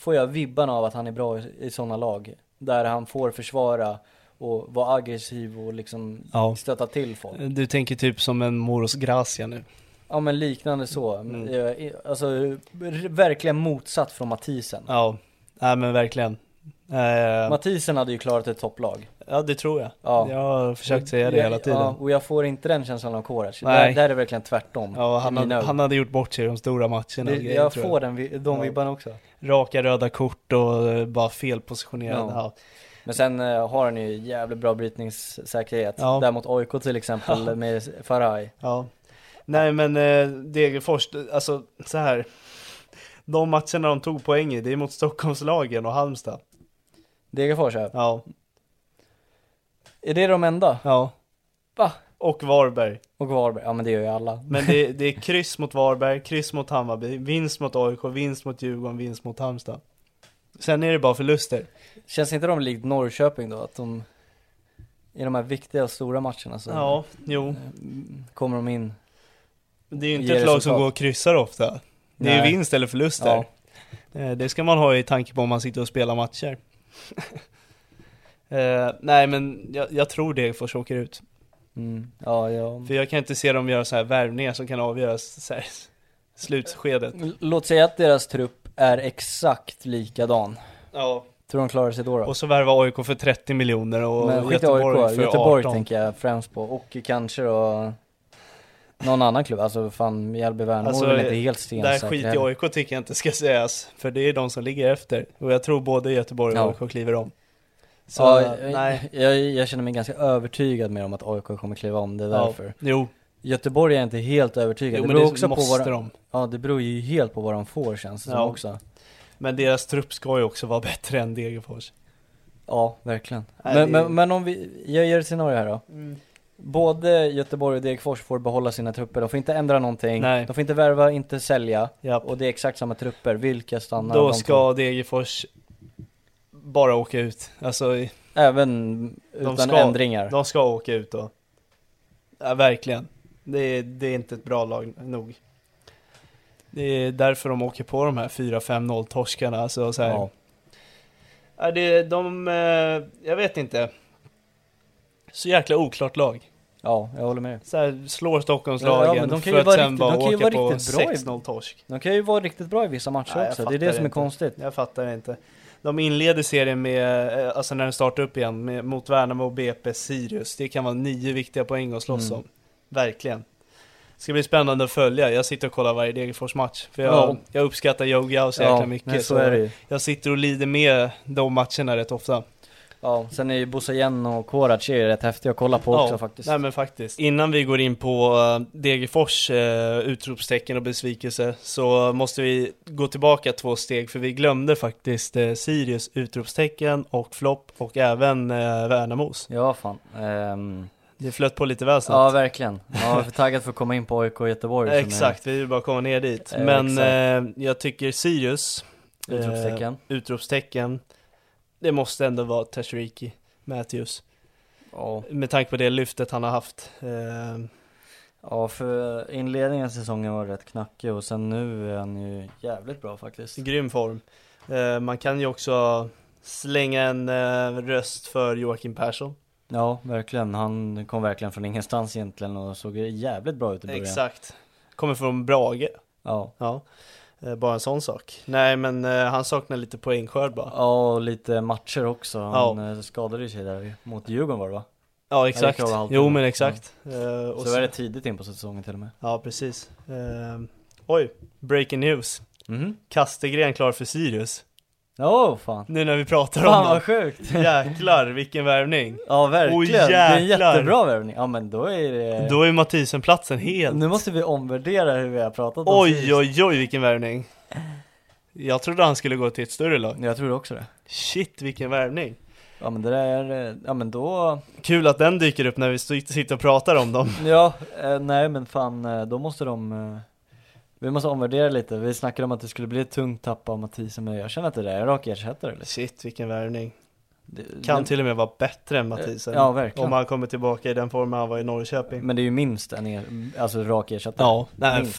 B: får jag vibban av att han är bra i, i sådana lag. Där han får försvara och vara aggressiv och liksom
A: Ja.
B: stöta till folk.
A: Du tänker typ som en Moros Gracia nu.
B: Ja men liknande så.
A: Mm.
B: Eh, Alltså r- verkligen motsatt från Mathisen.
A: Ja, nej men verkligen. Eh,
B: Mathisen hade ju klarat ett topplag.
A: ja det tror jag.
B: Ja.
A: Jag har försökt säga det hela tiden.
B: Ja, och jag får inte den känslan av Korac. Där,
A: Nej.
B: där är det verkligen tvärtom.
A: Ja,
B: i
A: han,
B: mina
A: hade,
B: ögon.
A: han hade gjort bort sig i de stora matcherna. och
B: det,
A: grejer,
B: jag
A: tror
B: får den, vi- de
A: Ja.
B: vibbarna också.
A: Raka röda kort och eh, bara felpositionerad.
B: Ja.
A: Ja.
B: Men sen eh, har han ju jävligt bra brytningssäkerhet.
A: Ja.
B: Där mot AIK till exempel med Faraj.
A: Ja. Nej men eh, Degerfors, alltså så här. De matcherna de tog poäng i, det är mot Stockholmslagen och Halmstad.
B: Degerfors ja.
A: Ja,
B: Är det de enda?
A: ja.
B: Va?
A: Och Varberg.
B: Och Varberg? Ja men det gör ju alla.
A: Men det, det är kryss mot Varberg, kryss mot Hammarby, vinst mot AIK, vinst mot Djurgården, vinst mot Halmstad. Sen är det bara förluster.
B: Känns inte de likt Norrköping då? Att de i de här viktiga och stora matcherna så
A: Ja, jo.
B: kommer de in.
A: Det är ju inte
B: Ger
A: ett lag som
B: resultat.
A: går och kryssar ofta. Det är
B: Nej.
A: ju vinst eller förluster. Eh, Det ska man ha i tanke på om man sitter och spelar matcher. [laughs] Eh, nej men jag, jag tror Degerfors åker ut.
B: Mm. Ja, ja.
A: För jag kan inte se dem göra så här värvningar som kan avgöras så här, s- slutskedet.
B: L- Låt säga att deras trupp är exakt likadan.
A: Ja.
B: Tror de klarar sig då? då?
A: Och så värva AIK för 30 miljoner och
B: men skit i
A: Göteborg
B: AIK,
A: för
B: Göteborg
A: 18.
B: tänker jag främst på. Och kanske då någon annan klubb. Alltså fan Mjällby Värnamo
A: Alltså,
B: är väl inte helt
A: Där
B: stensäkra
A: skit i
B: heller.
A: AIK tycker jag inte ska sägas, för det är de som ligger efter. Och jag tror både Göteborg och
B: Ja.
A: AIK kliver om. Så,
B: ja, jag-
A: nej.
B: jag, jag känner mig ganska övertygad med om att AIK kommer kliva om, det är därför.
A: Ja, jo,
B: Göteborg är jag inte helt övertygad,
A: jo
B: det
A: men
B: beror
A: det
B: också på
A: måste
B: vad de...
A: de.
B: Ja, det beror ju helt på vad de får känns det
A: Ja.
B: som också.
A: Men deras trupp ska ju också vara [laughs] bättre än Degerfors.
B: Ja, verkligen.
A: Nej,
B: men,
A: det- Mm.
B: men, men om vi, jag ger ett scenario här då. Både Göteborg och Degerfors får behålla sina trupper, de får inte ändra någonting,
A: Nej.
B: de får inte värva, inte sälja.
A: Japp.
B: Och det är exakt samma trupper, vilka stannar av
A: Då
B: de
A: ska Degerfors bara åka ut. Alltså,
B: två? Även utan
A: ska-
B: ändringar.
A: de ska åka ut då. Ja, verkligen. Det är, det är inte ett bra lag nog. Det är därför de åker på de här 4-5-0 torskarna. Alltså, så här.
B: Ja.
A: Ja, det, de, eh, jag vet inte. Så jäkla oklart lag.
B: Ja, jag håller med.
A: Så här, slår Stockholmslagen
B: Ja, men de kan ju
A: för att
B: vara
A: sen
B: riktigt-
A: bara
B: de kan ju
A: åka
B: vara
A: på
B: riktigt bra i-
A: 6-0 torsk.
B: De kan ju vara riktigt bra i vissa matcher
A: Nej, jag
B: också, det är
A: fattar
B: det som är
A: inte.
B: konstigt.
A: Jag fattar inte. De inleder serien med, eh, alltså när den startar upp igen, med, mot Värnamo och BP Sirius. Det kan vara nio viktiga poäng att slåss
B: Mm.
A: om. Verkligen. Det ska bli spännande att följa. Jag sitter och kollar varje Degerfors-match. För jag,
B: Ja.
A: jag uppskattar Yoga så jäkla mycket.
B: men så är det ju.
A: Jag sitter och lider med de matcherna rätt ofta.
B: Ja, sen är ju Bosse Jen och Korac är ju rätt häftiga att kolla på också faktiskt.
A: Nej men faktiskt. Innan vi går in på eh, Degerfors eh, utropstecken och besvikelse så måste vi gå tillbaka två steg för vi glömde faktiskt eh, Sirius utropstecken och flopp och även eh, Värnamos.
B: Ja, fan. Ehm,
A: Det flöt på lite väl
B: ja,
A: snabbt.
B: verkligen. Jag var för taggad för att komma in på AIK och Göteborg. som är
A: Exakt, vi vill bara komma ner dit.
B: Eh,
A: Men eh, jag tycker Sirius, eh,
B: Utropstecken.
A: utropstecken, det måste ändå vara Tashiriki Matthews.
B: Ja.
A: Med tanke på det lyftet han har haft. Eh,
B: ja, för inledningen av säsongen var rätt knackig och sen nu är han ju jävligt bra faktiskt.
A: I Grym form. Eh, man kan ju också slänga en eh, röst för Joakim Persson.
B: Ja, verkligen. Han kom verkligen från ingenstans egentligen och såg jävligt bra ut i början.
A: Exakt. Kommer från Brage.
B: Ja.
A: Ja. Eh, bara en sån sak. Nej men eh, han saknar lite poängskörd bara.
B: Ja, och lite matcher också. Han
A: Ja.
B: eh, skadade ju sig där ju. mot Djurgården var det va?
A: Ja
B: det
A: exakt.
B: kan vara alltid
A: Jo
B: bra.
A: men exakt. Eh, och
B: Så var det tidigt in på säsongen till och med.
A: Ja precis. Eh, oj, breaking news.
B: Mhm.
A: Kastegren klar för Sirius.
B: Ja, fan.
A: Nu när vi pratar om
B: Fan vad
A: honom.
B: sjukt!
A: Jäklar vilken värvning.
B: Ja verkligen,
A: Oj,
B: det är en
A: jäklar.
B: jättebra värvning. Ja men då är det...
A: Då är Mathisen-platsen helt.
B: Eh. Nu måste vi omvärdera hur vi har pratat om
A: Oj
B: Sirius.
A: oj oj vilken värvning. Jag trodde han skulle gå till ett större lag.
B: Jag tror också det.
A: Shit vilken värvning!
B: Ja men det där, är, eh, ja men då...
A: Kul att den dyker upp när vi st- sitter och pratar om dem.
B: Ja, eh, nej men fan eh, då måste de... Eh, vi måste omvärdera lite. Vi snackade om att det skulle bli ett tungt tapp av Mathisen men jag känner att det där är rak ersättare. Liksom.
A: Shit vilken värvning.
B: Det-
A: Kan
B: det-
A: till och med vara bättre än Mathisen.
B: Mm. Eh, Ja, verkligen.
A: Om han kommer tillbaka i den formen han var i Norrköping.
B: Men det är ju minst en er, alltså rak ersättare.
A: ja, nej,
B: Minst.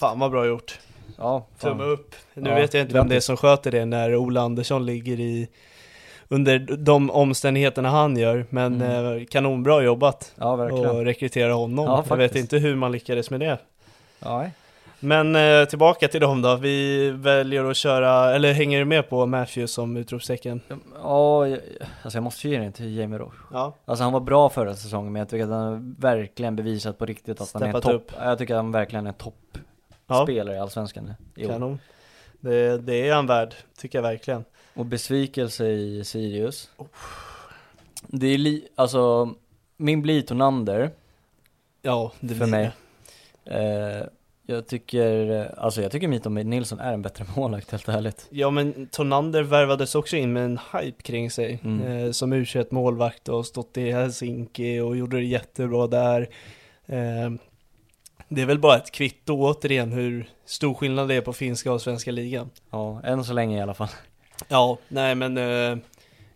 A: fan vad bra gjort.
B: Ja, fan.
A: Tumme upp. Nu
B: Ja,
A: vet jag inte vem det är
B: grattis.
A: som sköter det när Ola Andersson ligger i under de omständigheterna han gör, men eh, kanonbra jobbat
B: Ja Mm. verkligen.
A: och rekrytera honom.
B: Ja,
A: jag vet
B: faktiskt.
A: inte hur man lyckades med det.
B: Ja, nej.
A: Men eh, tillbaka till dem då, vi väljer att köra, eller hänger du med på Matthew som utropstecken?
B: ja, jag- alltså jag måste ju ge den till Jamie Roche.
A: Ja.
B: Alltså han var bra förra säsongen men jag tycker att han verkligen bevisat på riktigt att han är
A: Steppat
B: topp.
A: upp.
B: Jag tycker att han verkligen är toppspelare
A: Ja,
B: i Allsvenskan i år.
A: kanon. Det, det är han värd, tycker jag verkligen.
B: Och besvikelse i Sirius.
A: Oh.
B: Det är li, alltså, min blir Tonander
A: Ja, det
B: för
A: blir
B: mig.
A: det.
B: Eh, jag tycker, eh, alltså jag tycker Mito Nilsson är en bättre [laughs] målvakt helt ärligt.
A: Ja men Tonander värvades också in med en hype kring sig
B: Mm.
A: eh, Som U21 målvakt och har stått i Helsinki och gjorde det jättebra där eh, Det är väl bara ett kvitto återigen hur stor skillnad det är på finska och svenska ligan
B: Ja, än så länge i alla fall.
A: Ja, nej men eh,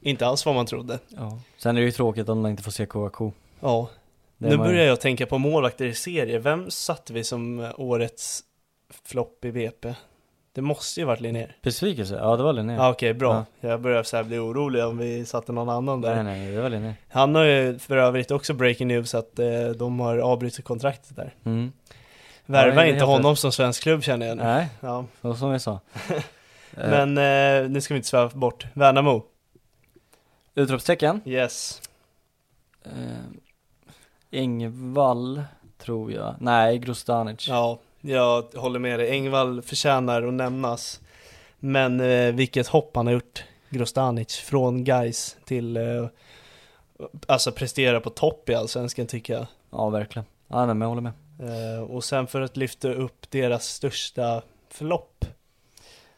A: inte alls vad man trodde
B: Ja. Sen är det ju tråkigt om man inte får se KK.
A: Ja,
B: Det
A: nu
B: var-
A: börjar jag tänka på målvakter i serier Vem satte vi som eh, årets flopp i VP? Det måste ju varit Linnér
B: Besvikelse? Ja det var Linné.
A: Ja okej, bra. Jag börjar så här bli orolig om vi satte någon annan där
B: nej nej, det var Linné.
A: Han har ju för övrigt också breaking news att eh, de har avbrutit kontraktet där.
B: Mm. Ja, det
A: Värva
B: är
A: inte
B: helt
A: honom som svensk klubb känner jag nu.
B: Nej,
A: Ja.
B: och som vi sa. Eh,
A: Men eh, nu ska vi inte sväva bort. Värnamo.
B: Utropstecken.
A: Yes.
B: Eh, Engvall, tror jag. Nej, Grostanic.
A: Ja, jag håller med dig. Engvall förtjänar att nämnas. Men eh, vilket hopp han har gjort, Grostanic, från Gais till eh, alltså prestera på topp i Allsvenskan tycker jag.
B: Ja, verkligen. Ja, nej, men jag håller med.
A: Eh, och sen för att lyfta upp deras största flopp,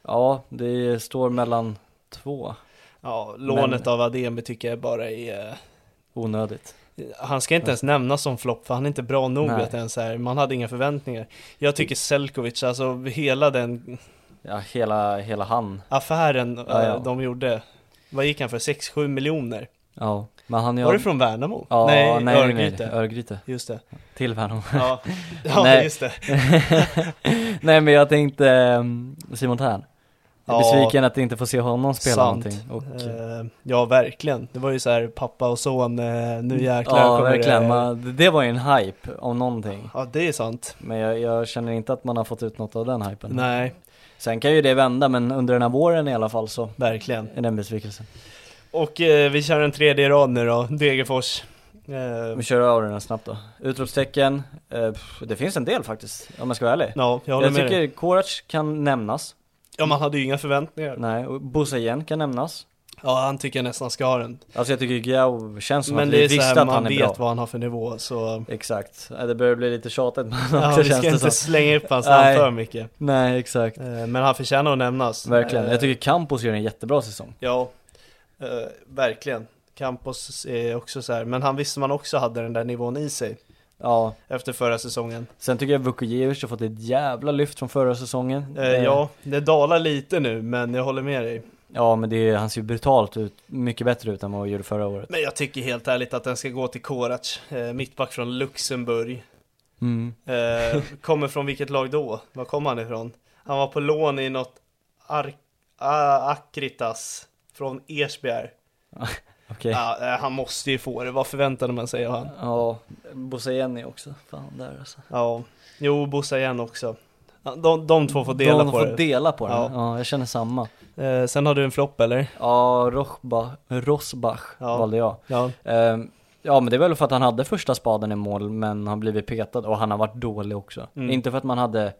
B: Ja, det står mellan två.
A: ja, lånet
B: Men-
A: av Ademi tycker jag bara är eh,
B: Onödigt.
A: Han ska inte ens nämnas som flopp för han är inte bra nog
B: Nej.
A: att ens är, man hade inga förväntningar. Jag tycker Selkovic, alltså hela den
B: Ja, hela, hela han.
A: affären eh,
B: Ja, ja.
A: de gjorde, vad gick han för? 6-7 miljoner?
B: Ja, men han
A: Var det från Värnamo?
B: Ja,
A: nej,
B: nej,
A: Örgryte.
B: Nej, Örgryte.
A: Just det.
B: Till Värnamo.
A: Ja, ja
B: Nej.
A: just det.
B: [laughs] nej, men jag tänkte ehm, Simon Tern. Jag är
A: Ja.
B: besviken att inte få se honom spela
A: Sant.
B: någonting. Och,
A: Eh, ja, verkligen. Det var ju så här pappa och son, eh, nu jäklar
B: Mm. ja,
A: kommer
B: verkligen.
A: det.
B: Man, det var ju en hype om någonting.
A: Ja, det är sant.
B: Men jag, jag känner inte att man har fått ut något av den hypen.
A: Nej,
B: Sen kan ju det vända, men under den här våren i alla fall så
A: verkligen.
B: är det en besvikelse.
A: Och eh, vi kör en tredje i rad nu då, Degerfors. Eh,
B: Vi kör över den här snabbt då. Utropstecken, eh, pff, det finns en del faktiskt, om jag ska vara ärlig.
A: ja, jag håller
B: jag
A: med dig.
B: tycker Korac kan nämnas,
A: Ja, man hade ju inga förväntningar.
B: nej, och Bosse igen kan nämnas.
A: Ja, han tycker jag nästan ska ha den.
B: Alltså jag tycker Giao känns som
A: Men
B: att
A: det
B: vi
A: är så
B: visste
A: här,
B: att han
A: man
B: är
A: vet
B: bra.
A: vad han har för nivå, så...
B: Exakt, Eh, det börjar bli lite tjatigt men
A: Ja,
B: också
A: vi ska
B: känns det
A: inte
B: som.
A: slänga upp hans
B: Nej.
A: namn för mycket.
B: Nej exakt,
A: Eh, Men han förtjänar att nämnas.
B: verkligen.
A: Eh,
B: Jag tycker Campos gör en jättebra säsong.
A: Ja, eh, verkligen. Campos är också så här, men han visste man också hade den där nivån i sig
B: Ja,
A: efter förra säsongen.
B: sen tycker jag Vukojevic har fått ett jävla lyft från förra säsongen.
A: Eh,
B: Eh,
A: Ja, det dalar lite nu, men jag håller med dig.
B: Ja men det är, han ser ju brutalt ut, mycket bättre ut än vad han gjorde förra året.
A: Men jag tycker helt ärligt att den ska gå till Korac, eh, mittback från Luxemburg.
B: Mm.
A: Eh, kommer från vilket lag då? Var kom han ifrån? Han var på lån i något Ar- A- Akritas från Ersbjerg.
B: Okej.
A: Ja, eh, han måste ju få det, vad förväntade man sig av han?
B: Ja, Bosse Jenny också, fan där alltså.
A: Ja, jo Bossa igen också. Ja, De, de två får dela
B: De
A: på
B: får
A: det.
B: dela på den,
A: Ja.
B: ja. jag känner samma.
A: eh, sen har du en flopp eller?
B: Ja, Rochba, Rosbach
A: Ja.
B: valde jag.
A: Ja.
B: Ehm, ja men det är väl för att han hade första spaden i mål men har blivit petad och han har varit dålig också.
A: Mm.
B: Inte för att man hade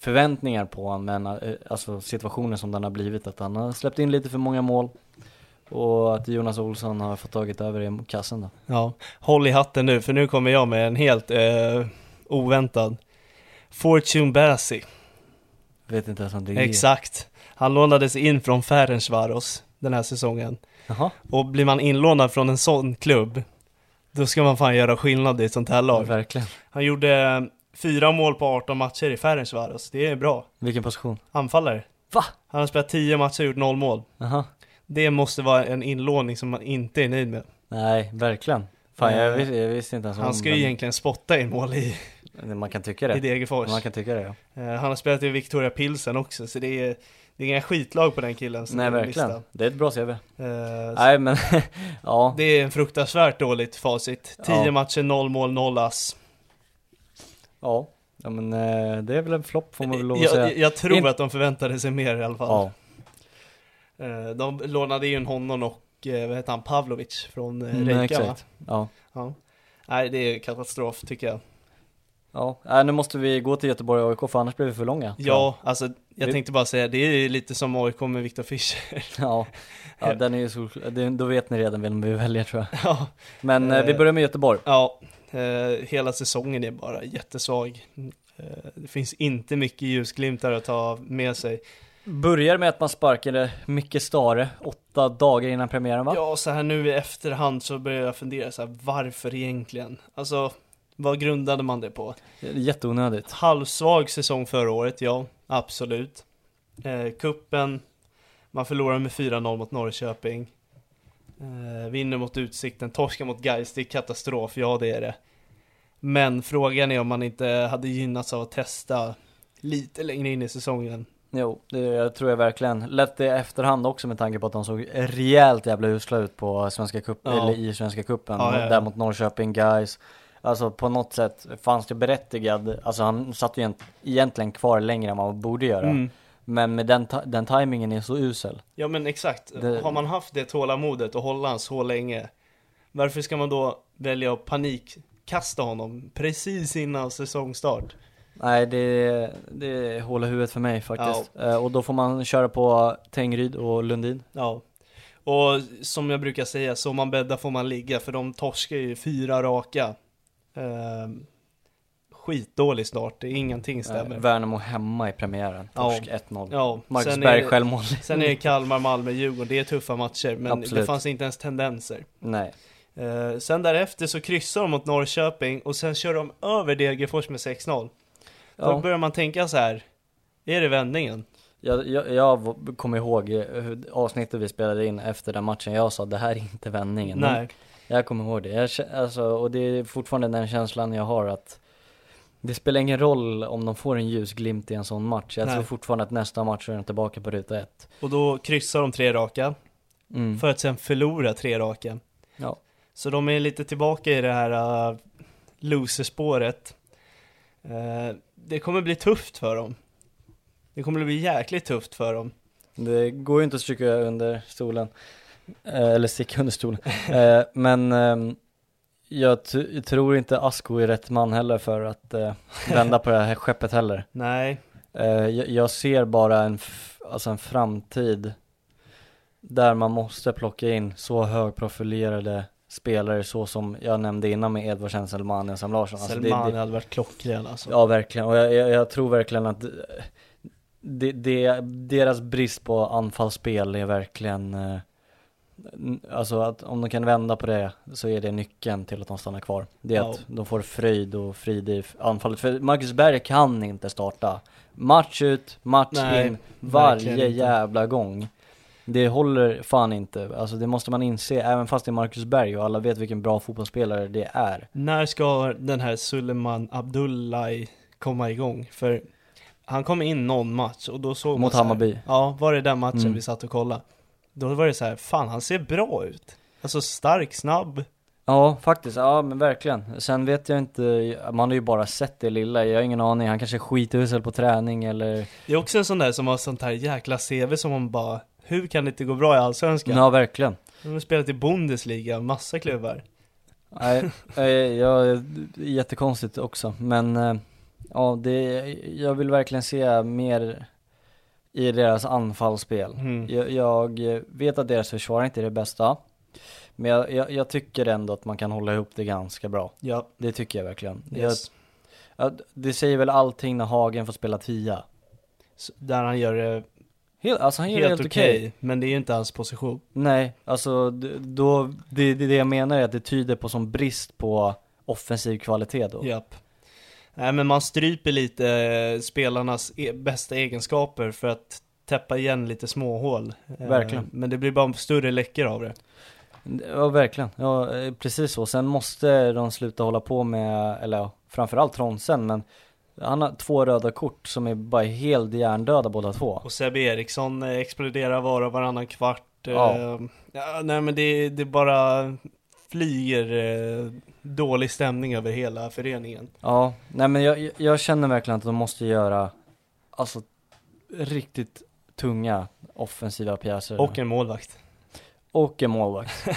B: förväntningar på honom men eh, alltså situationen som den har blivit att han har släppt in lite för många mål. Och att Jonas Olsson har fått tagit över i kassen då.
A: ja. Håll i hatten nu, för nu kommer jag med en helt eh, oväntad. Fortune Bassi.
B: Vet inte ens om det är.
A: Exakt. Han lånades in från Ferencvaros den här säsongen.
B: Jaha,
A: Och blir man inlånad från en sån klubb, då ska man fan göra skillnad i ett sånt här lag.
B: verkligen.
A: Han gjorde eh, fyra mål på 18 matcher i Ferencvaros, det är bra.
B: Vilken position?
A: Anfallare.
B: Va?
A: Han har spelat 10 matcher och gjort noll mål.
B: Jaha.
A: Det måste vara en inlåning som man inte är nöjd med.
B: Nej, verkligen. Fan jag, vis- jag visste inte ens om
A: Han ska ju
B: den-
A: egentligen spotta in mål i,
B: Man kan tycka det.
A: i Degerfors.
B: Man kan tycka det ja.
A: Eh, Han har spelat i Victoria Pilsen också, så det är, det är inga skitlag på den killens
B: Nej
A: eh,
B: verkligen.
A: lista.
B: Det är ett bra CV.
A: Eh, så
B: Nej men, [laughs] ja.
A: Det är en fruktansvärt dåligt facit. 10
B: Ja.
A: matcher, 0 mål, 0 ass.
B: Ja, ja men eh, det är väl en flopp får man väl lov att säga.
A: Jag, jag tror
B: In-
A: att de förväntade sig mer i alla fall.
B: Ja,
A: Eh, De lånade ju en honom och, eh, vad heter han, Pavlovic från eh,
B: Mm,
A: Rijeka va?
B: exakt. Ja.
A: Ja. Nej, det är katastrof tycker jag.
B: Ja, äh, nu måste vi gå till Göteborg och AIK för annars blir vi för långa. tror jag.
A: Ja, alltså jag
B: Det-
A: tänkte bara säga, det är ju lite som AIK med Viktor Fischer.
B: [laughs]
A: [laughs]
B: ja. Ja, den är ju sol... det- Då vet ni redan vem vi väljer tror jag.
A: ja.
B: Men eh, vi
A: Eh.
B: börjar med Göteborg.
A: Ja, eh, hela säsongen är bara jättesvag. Eh, det finns inte mycket ljusglimtar att ta med sig.
B: Börjar med att man sparkade Micke Stare åtta dagar innan premiären va?
A: Ja, så här nu i efterhand så börjar jag fundera så här, varför egentligen? Alltså, vad grundade man det på?
B: Jätteonödigt.
A: Halvsvag säsong förra året, ja, absolut. Eh, kuppen, man förlorar med 4-0 mot Norrköping. Eh, vinner mot Utsikten, torskar mot Gais, det är katastrof, ja det är det. Men frågan är om man inte hade gynnats av att testa lite längre in i säsongen.
B: Jo, det jag tror jag verkligen. Lätt det i efterhand också med tanke på att de såg rejält jävla usla ut på Svenska Cup,
A: Ja.
B: eller i Svenska Cupen.
A: Ja, ja, ja.
B: Där mot Norrköping guys. Alltså på något sätt fanns det berättigad, alltså han satt ju egent- egentligen kvar längre än vad man borde göra.
A: Mm.
B: Men med den, ta- den timingen är så usel.
A: Ja men exakt,
B: Det-
A: har man haft det tålamodet att hålla han så länge, varför ska man då välja att panik utkasta honom precis innan säsongstart.
B: Nej, det, det är hål i huvudet för mig faktiskt. Eh, och då får man köra på Tengryd och Lundin.
A: Ja. Och som jag brukar säga, så man bäddar får man ligga, för de torskar ju fyra raka. Ehm, skitdålig start, det är ingenting stämmer.
B: Eh, Värnamo hemma i premiären, torsk
A: Ja.
B: 1-0.
A: Ja,
B: Marcus
A: sen
B: Berg
A: är-
B: självmål. [laughs]
A: Sen är det Kalmar, Malmö, Djurgården, det är tuffa matcher, men det
B: Absolut.
A: fanns inte ens tendenser.
B: Nej,
A: Eh, sen därefter så kryssar de mot Norrköping och sen kör de över Degerfors med 6-0. Då
B: ja.
A: börjar man tänka så här, är det vändningen?
B: jag, jag, jag v- kommer ihåg eh, hur- avsnittet vi spelade in efter den matchen. Jag sa det här är inte vändningen. Men
A: Nej.
B: Jag kommer ihåg det. Jag, kä- alltså, och det är fortfarande den känslan jag har att det spelar ingen roll om de får en ljusglimt i en sån match. Jag
A: Nej.
B: tror fortfarande att nästa match är de tillbaka på ruta ett.
A: Och då kryssar de tre raka,
B: Mm.
A: för att sen förlora tre raka.
B: Ja.
A: Så de är lite tillbaka i det här uh, loserspåret. Eh, det kommer bli tufft för dem. Det kommer bli jäkligt tufft för dem.
B: Det går ju inte att stryka under stolen, eh, eller sticka under
A: [laughs]
B: stolen. Eh, men ehm, jag, t- jag tror inte Asko är rätt man heller för att eh, vända på det här skeppet heller.
A: Nej,
B: Eh, jag, jag ser bara en, f- alltså en framtid där man måste plocka in så högprofilerade spelare så som jag nämnde innan med Edvard Senselman och Sam Larsson. Alltså, det-
A: Selman
B: det-
A: hade varit klockren alltså.
B: Ja, verkligen. Och jag, jag, jag tror verkligen att eh, det, det, deras brist på anfallsspel är verkligen, eh, n- alltså att om de kan vända på det så är det nyckeln till att de stannar kvar. Det är
A: Ja.
B: att de får fröjd och frid i f- anfallet. För Marcus Berg kan inte starta match ut, match
A: Nej,
B: in,
A: verkligen
B: varje
A: inte.
B: jävla gång. Det håller fan inte, alltså det måste man inse, även fast det är Marcus Berg och alla vet vilken bra fotbollsspelare det är.
A: När ska den här Suleiman Abdullahi komma igång? För han kom in någon match och då såg man
B: Mot
A: så här-
B: Hammarby.
A: Ja, var det den matchen
B: Mm.
A: vi satt och kollade? Då var det så här, fan han ser bra ut. Alltså stark, snabb.
B: Ja, faktiskt. Ja, men verkligen. Sen vet jag inte, man har ju bara sett det lilla. Jag har ingen aning. Han kanske är skitusel på träning eller...
A: Det är också en sån där som har sånt här jäkla CV som man bara, hur kan det inte gå bra i Allsvenskan?
B: Ja, verkligen.
A: De har spelat i Bundesliga, massa klubbar.
B: Nej, eh, ja, jättekonstigt också. Men, eh, ja, det, jag vill verkligen se mer i deras anfallsspel.
A: Mm.
B: Jag, jag vet att deras försvar inte är det bästa. Men jag, jag, jag tycker ändå att man kan hålla ihop det ganska bra.
A: Ja,
B: Det tycker jag verkligen.
A: yes.
B: Jag, ja, det säger väl allting när Hagen får spela tia.
A: Så Där han gör det
B: Helt, alltså han gör
A: helt,
B: det helt
A: okej,
B: okej.
A: men det är ju inte hans position.
B: Nej, alltså d- då, det, det, det jag menar är att det tyder på som brist på offensiv kvalitet då.
A: Japp. Nej men man stryper lite eh, spelarnas e- bästa egenskaper för att täppa igen lite småhål. Eh,
B: Verkligen.
A: Men det blir bara större läckor av det.
B: Ja, verkligen. Ja, eh, precis så. Sen måste de sluta hålla på med, eller ja, framförallt Tronsen, men han har två röda kort som är bara helt hjärndöda båda två.
A: Och Sebbe Eriksson eh, exploderar var och varannan kvart. eh,
B: Ja.
A: Ja, nej men det, det bara flyger eh, dålig stämning över hela föreningen.
B: Ja, nej men jag, jag känner verkligen att de måste göra, alltså riktigt tunga offensiva pjäser.
A: Och en målvakt.
B: Och en målvakt.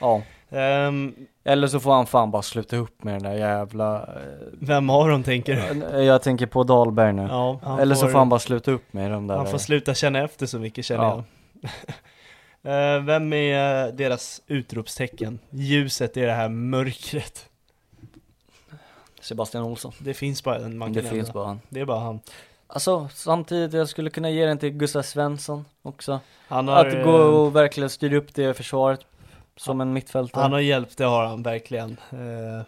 B: ja.
A: Ehm,
B: Eller så får han fan bara sluta upp med den där jävla...
A: vem har de tänker du?
B: eh, Jag tänker på Dahlberg nu.
A: Ja, han
B: Eller så får han bara sluta upp med de där... eh,
A: Han får sluta känna efter så mycket känner
B: Ja.
A: jag. [laughs] Eh, Vem är eh, deras utropstecken? Ljuset är det här mörkret.
B: Sebastian Olsson.
A: Det finns bara en man
B: Det
A: kan
B: finns
A: nämna.
B: bara han.
A: Det är bara han.
B: Alltså, samtidigt, jag skulle kunna ge den till Gustav Svensson också.
A: Han har,
B: Att
A: eh,
B: gå och verkligen styra upp det försvaret som en mittfältare.
A: han har hjälpt, det har han verkligen. Eh,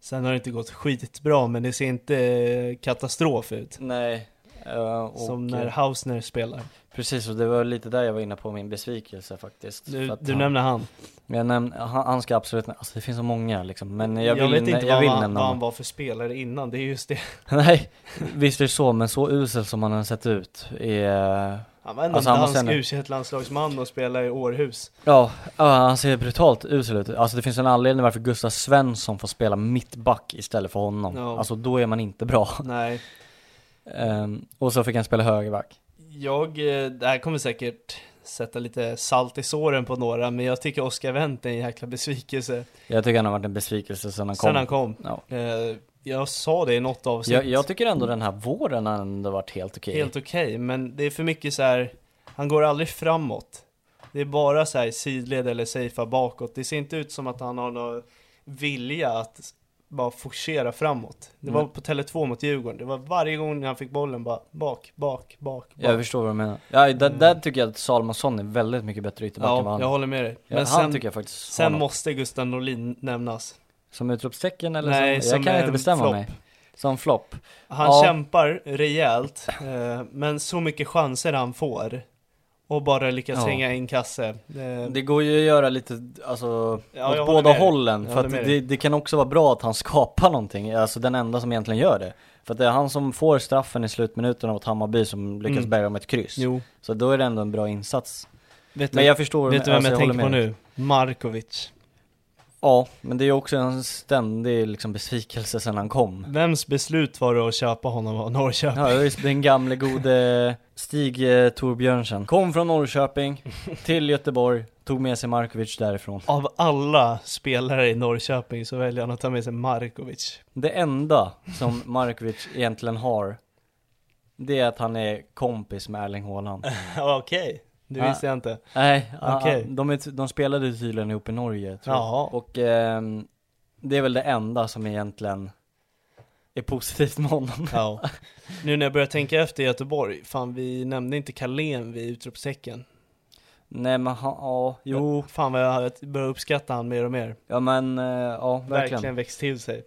A: Sen har det inte gått skitbra, men det ser inte eh, katastrof ut.
B: Nej. eh, och,
A: Som när Hausner spelar.
B: Precis, och det var lite där jag var inne på min besvikelse faktiskt. För
A: Du,
B: att
A: du
B: han,
A: nämner han.
B: Jag nämn, han, han ska absolut, alltså det finns så många liksom, men jag,
A: Jag,
B: vill,
A: vet
B: nä-
A: inte
B: jag
A: vad,
B: vill
A: han,
B: nämna
A: vad
B: honom.
A: han var för spelare innan, det är just det. [laughs]
B: Nej, visst är det så, men så usel som han har sett ut är...
A: Han var ändå
B: Alltså,
A: en
B: han måste
A: dansk
B: ändå-
A: u landslagsman och spelade i Århus.
B: Ja, ja, han ser brutalt usel ut. Alltså det finns en anledning varför Gustav Svensson får spela mittback istället för honom.
A: Ja.
B: Alltså då är man inte bra. [laughs]
A: Nej.
B: Ehm, och så fick han spela högerback.
A: Jag, eh, det här kommer säkert sätta lite salt i såren på några, men jag tycker Oscar Wendt är en jäkla besvikelse
B: Jag tycker han har varit en besvikelse sen han kom.
A: sen han kom.
B: Ja.
A: Eh, Jag sa det i något avsnitt.
B: Jag, jag tycker ändå den här våren har ändå varit helt okej.
A: Helt okej, men det är för mycket så här. han går aldrig framåt. Det är bara så här sidled eller safea bakåt. Det ser inte ut som att han har någon vilja att s- bara forcera framåt. Det
B: Mm.
A: var på Tele2 mot Djurgården, det var varje gång han fick bollen bara bak, bak, bak, bak.
B: Jag förstår vad du menar. Ja, där, där tycker jag att Salomonsson är väldigt mycket bättre ytterback än vad
A: Ja,
B: han
A: jag håller med dig.
B: Men
A: Men
B: han
A: sen,
B: tycker jag faktiskt har
A: sen
B: något.
A: måste Gustav Norlin nämnas.
B: Som utropstecken eller
A: Nej,
B: som,
A: som
B: Jag kan inte
A: en
B: bestämma
A: flopp.
B: mig. Som flopp.
A: Han
B: Ja.
A: kämpar rejält, eh, men så mycket chanser han får och bara lyckas
B: Ja.
A: hänga in kasse. Eh,
B: Det går ju att göra lite, alltså,
A: Ja, jag håller
B: åt båda
A: med dig.
B: hållen.
A: Jag
B: För att
A: håller med
B: det,
A: dig.
B: det kan också vara bra att han skapar någonting, alltså den enda som egentligen gör det. För att det är han som får straffen i slutminuterna mot Hammarby som lyckas
A: Mm.
B: bärga med ett kryss.
A: Jo.
B: Så då är det ändå en bra insats.
A: Vet du,
B: Men jag förstår,
A: vet du vem
B: alltså,
A: jag
B: håller
A: tänker på
B: med.
A: nu? Markovic.
B: Ja, men det är ju också en ständig liksom besvikelse sen han kom.
A: Vems beslut var det att köpa honom av Norrköping?
B: Ja, just den gamle gode Stig eh, Torbjörnsen. Kom från Norrköping till Göteborg, tog med sig Markovic därifrån.
A: Av alla spelare i Norrköping så väljer han att ta med sig Markovic. [laughs]
B: Det enda som Markovic egentligen har, det är att han är kompis med
A: [laughs]
B: Erling Haaland.
A: Ja, Okej, det
B: Ja.
A: visste jag inte.
B: Nej, ah, ah,
A: Okej.
B: de, är, t- de spelade ju tydligen ihop i Norge tror
A: Jaha.
B: jag. Och ehm, det är väl det enda som egentligen är positivt med honom.
A: Ja. [laughs] Nu när jag börjar tänka efter i Göteborg, fan vi nämnde inte Carlén vid utropstecken.
B: [laughs] Nej men han, ja, jo,
A: Fan vad jag börjar uppskatta han mer och mer.
B: ja men, eh, ja verkligen.
A: Verkligen växt till sig.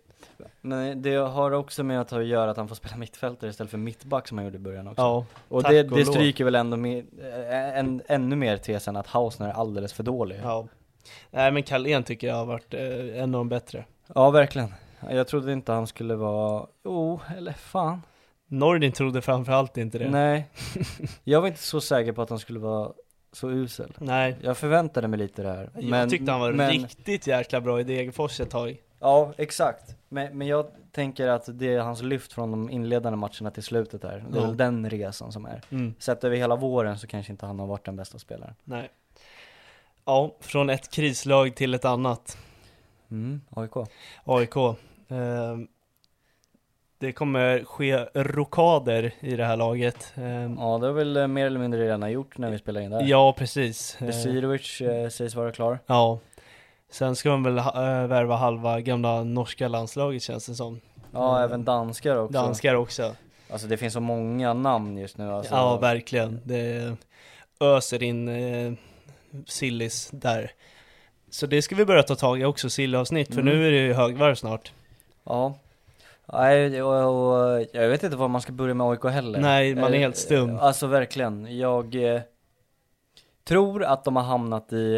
B: Men det har också med att göra att han får spela mittfältare istället för mittback som han gjorde i början också.
A: Ja,
B: och
A: tack
B: det,
A: och
B: det
A: lov.
B: stryker väl ändå med, äh, en, ännu mer tesen att Hausner är alldeles för dålig. Ja,
A: ja. Nej men Carlén tycker jag har varit eh, en av de bättre.
B: verkligen. Jag trodde inte han skulle vara, jo, eller fan.
A: Nordin trodde framförallt inte det. [laughs]
B: Nej. Jag var inte så säker på att han skulle vara så usel.
A: Nej.
B: Jag förväntade mig lite det här.
A: Jag tyckte han var
B: men,
A: riktigt jäkla bra i Degerfors ett tag.
B: Ja, exakt. Men, men jag tänker att det är hans lyft från de inledande matcherna till slutet här. Det är
A: Ja.
B: väl den resan som är.
A: Mm.
B: Sett över hela våren så kanske inte han har varit den bästa spelaren.
A: Nej. Ja, från ett krislag till ett annat.
B: Mm, AIK.
A: AIK. Ehm, det kommer ske rokader i det här laget. Ehm,
B: Ja, det har väl eh, mer eller mindre redan gjort när vi spelar in det här.
A: ja, precis. Ehm,
B: Besirovic eh, sägs vara klar.
A: ja. Sen ska de väl ha- eh, värva halva gamla norska landslaget känns det som.
B: Ja,
A: Mm.
B: även danskar också.
A: Danskar också.
B: Alltså det finns så många namn just nu alltså.
A: Ja, verkligen. Det öser in eh, Sillis där. Så det ska vi börja ta tag i också, Silly-avsnitt, för
B: Mm.
A: nu är det ju högvarv snart.
B: Ja. Nej, och, och, jag vet inte var man ska börja med AIK heller.
A: Nej, man är
B: Eh,
A: helt stum.
B: Alltså verkligen. Jag eh, tror att de har hamnat i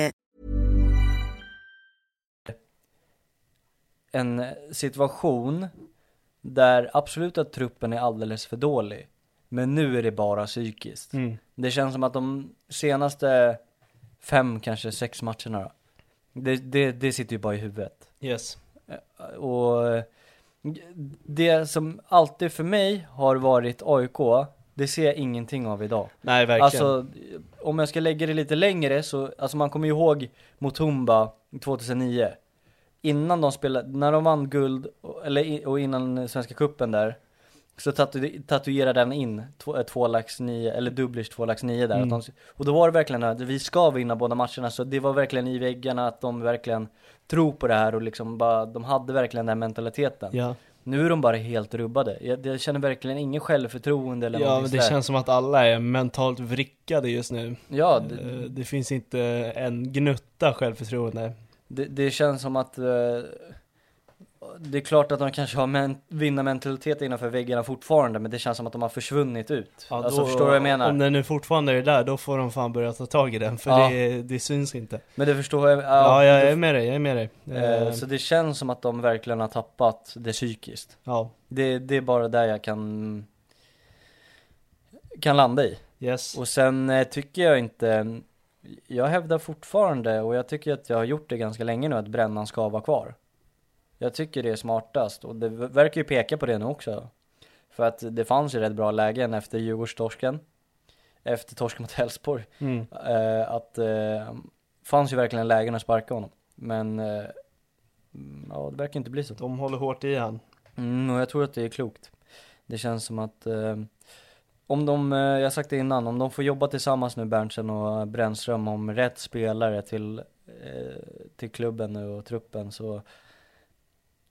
B: en situation där absolut att truppen är alldeles för dålig. Men nu är det bara psykiskt.
A: Mm.
B: Det känns som att de senaste fem, kanske sex matcherna då, det, det, det sitter ju bara i huvudet.
A: Yes.
B: Och eh, det som alltid för mig har varit AIK, det ser jag ingenting av idag.
A: Nej, verkligen.
B: Alltså, om jag ska lägga det lite längre så, alltså man kommer ju ihåg Motumba 2009. Innan de spelade, när de vann guld, och- eller i- och innan Svenska Kuppen där, så tatu- tatuerade han in två, eh, två lax nio, eller Dubblish två lax nio
A: Mm.
B: där. Att de, och då var det verkligen att vi ska vinna båda matcherna, så det var verkligen i väggarna att de verkligen tror på det här och liksom bara, de hade verkligen den mentaliteten.
A: Ja.
B: Nu är de bara helt rubbade. Jag, jag känner verkligen ingen självförtroende eller
A: Ja,
B: någonting
A: men det
B: sådär.
A: känns som att alla är mentalt vrickade just nu.
B: Ja,
A: Eh,
B: det,
A: Det finns inte en gnutta självförtroende.
B: det, det känns som att eh, det är klart att de kanske har men, vinnarmentalitet innanför väggarna fortfarande, men det känns som att de har försvunnit ut.
A: Ja,
B: alltså
A: då-
B: förstår du vad jag menar?
A: Om den nu fortfarande är det där, då får de fan börja ta tag i den, för
B: Ja.
A: det, det syns inte.
B: Men det förstår jag.
A: Ja,
B: Ja,
A: jag är med dig, jag är med dig.
B: eh,
A: Eh,
B: Så det känns som att de verkligen har tappat det psykiskt.
A: Ja,
B: Det, det är bara där jag kan kan landa i.
A: yes.
B: Och sen eh, tycker jag inte, jag hävdar fortfarande och jag tycker att jag har gjort det ganska länge nu att brännan ska vara kvar. Jag tycker det är smartast och det verkar ju peka på det nu också. För att det fanns ju rätt bra lägen efter Djurgårdstorsken, efter torsken mot Elfsborg.
A: Mm.
B: Eh, att eh, fanns ju verkligen lägen att sparka honom. Men eh, mm, ja, det verkar inte bli så.
A: De håller hårt i han.
B: Mm, och jag tror att det är klokt. Det känns som att eh, om de, eh, jag har sagt det innan, om de får jobba tillsammans nu Berntsen och Brännström om rätt spelare till, eh, till klubben nu och truppen så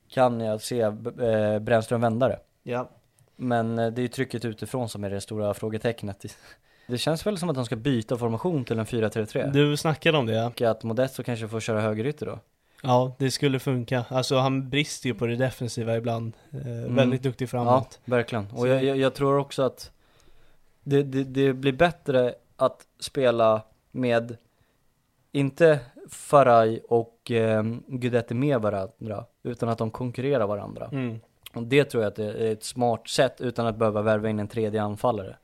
B: kan jag se eh, Brännström vända det.
A: Ja.
B: Men eh, det är ju trycket utifrån som är det stora frågetecknet. [laughs] Det känns väl som att de ska byta formation till en 4-3-3.
A: Du snackade om det ja.
B: Och att Modesto kanske får köra högerytter då.
A: Ja, det skulle funka. Alltså han brister ju på det defensiva ibland. Eh,
B: Mm.
A: Väldigt duktig framåt.
B: Ja, verkligen.
A: Så-
B: Och jag, jag, jag tror också att det, det, det blir bättre att spela med, inte Faraj och eh, Gudetti med varandra, utan att de konkurrerar varandra.
A: Mm.
B: Och det tror jag att det är ett smart sätt utan att behöva värva in en tredje anfallare.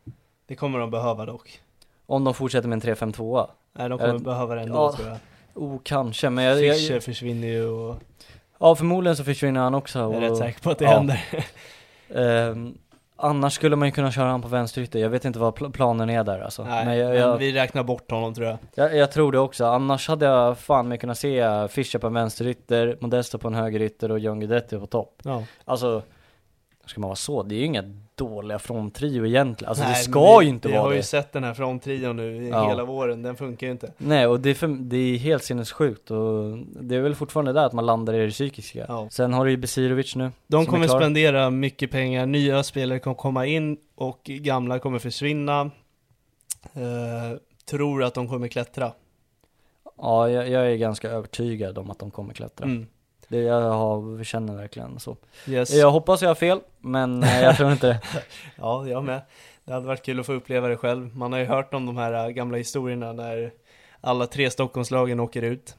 A: Det kommer de behöva dock.
B: Om de fortsätter med en 3-5-2.
A: Nej, de kommer
B: Eh,
A: behöva det ändå
B: ja,
A: tror jag.
B: Oh, kanske, men jag,
A: Fischer
B: jag,
A: försvinner ju och
B: ja, förmodligen så försvinner han också.
A: jag är
B: och-
A: rätt säker på att det
B: ja.
A: händer.
B: Ehm, annars skulle man ju kunna köra han på vänsterytter, jag vet inte vad pl- planen är där alltså.
A: Nej, men,
B: men jag, jag,
A: vi räknar bort honom tror jag.
B: jag, jag tror det också, annars hade jag fan mig kunnat se Fischer på en vänsterytter, Modesto på en högerytter och John Guidetti på topp.
A: Ja.
B: Alltså, ska man vara så, det är ju inga dåliga fronttrio egentligen, alltså det
A: Nej, men
B: ska
A: vi,
B: ju inte
A: vi
B: vara
A: har
B: det.
A: ju sett den här fronttrion nu i
B: Ja.
A: hela våren, den funkar ju inte.
B: Nej, och det är, för, det är helt sinnessjukt och det är väl fortfarande där att man landar i det psykiska.
A: Ja.
B: Sen har du ju Besirovic nu.
A: De
B: som är
A: kommer
B: klar.
A: spendera mycket pengar, nya spelare kommer komma in och gamla kommer försvinna. Eh, tror att de kommer klättra.
B: Ja, jag, jag är ganska övertygad om att de kommer klättra.
A: Mm.
B: Det jag har, känner verkligen så.
A: Yes.
B: Jag hoppas jag har fel, men eh, jag
A: [laughs]
B: tror inte [laughs] det.
A: Ja, jag med. Det hade varit kul att få uppleva det själv. Man har ju hört om de här äh, gamla historierna när alla tre Stockholmslagen åker ut.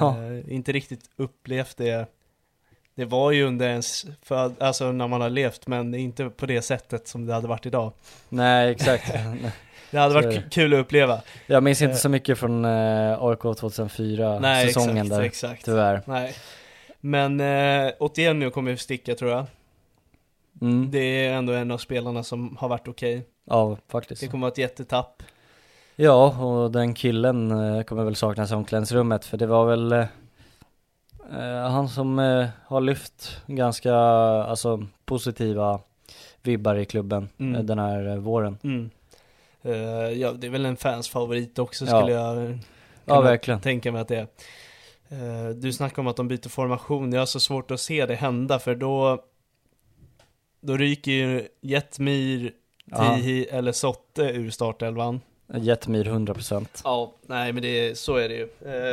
B: Ja.
A: Eh, inte riktigt upplevt det. Det var ju under ens föd- alltså när man har levt, men inte på det sättet som det hade varit idag.
B: Nej,
A: [laughs]
B: exakt.
A: Det hade
B: Så
A: varit
B: är
A: k- kul att uppleva.
B: Jag minns inte så mycket från eh, AIK 2004
A: Nej,
B: säsongen
A: exakt,
B: där,
A: exakt.
B: tyvärr.
A: Nej. Men eh, Otieno kommer ju sticka tror jag.
B: Mm.
A: Det är ändå en av spelarna som har varit okej.
B: Ja, faktiskt.
A: Det kommer vara ett jättetapp.
B: Ja, och den killen eh, kommer väl saknas i omklädningsrummet för det var väl eh, eh, han som eh, har lyft ganska alltså, positiva vibbar i klubben
A: Mm.
B: eh, den här eh, våren.
A: Mm. Eh, ja, det är väl en fans favorit också
B: Ja.
A: skulle jag eh,
B: Ja,
A: kunna
B: verkligen.
A: tänka mig att det är. Eh, du snackar om att de byter formation, jag har så svårt att se det hända för då då ryker ju Jetmir,
B: Ja.
A: Tihi eller Sotte ur startelvan.
B: Jetmir 100%.
A: Ja, nej men det, så är det ju. Eh,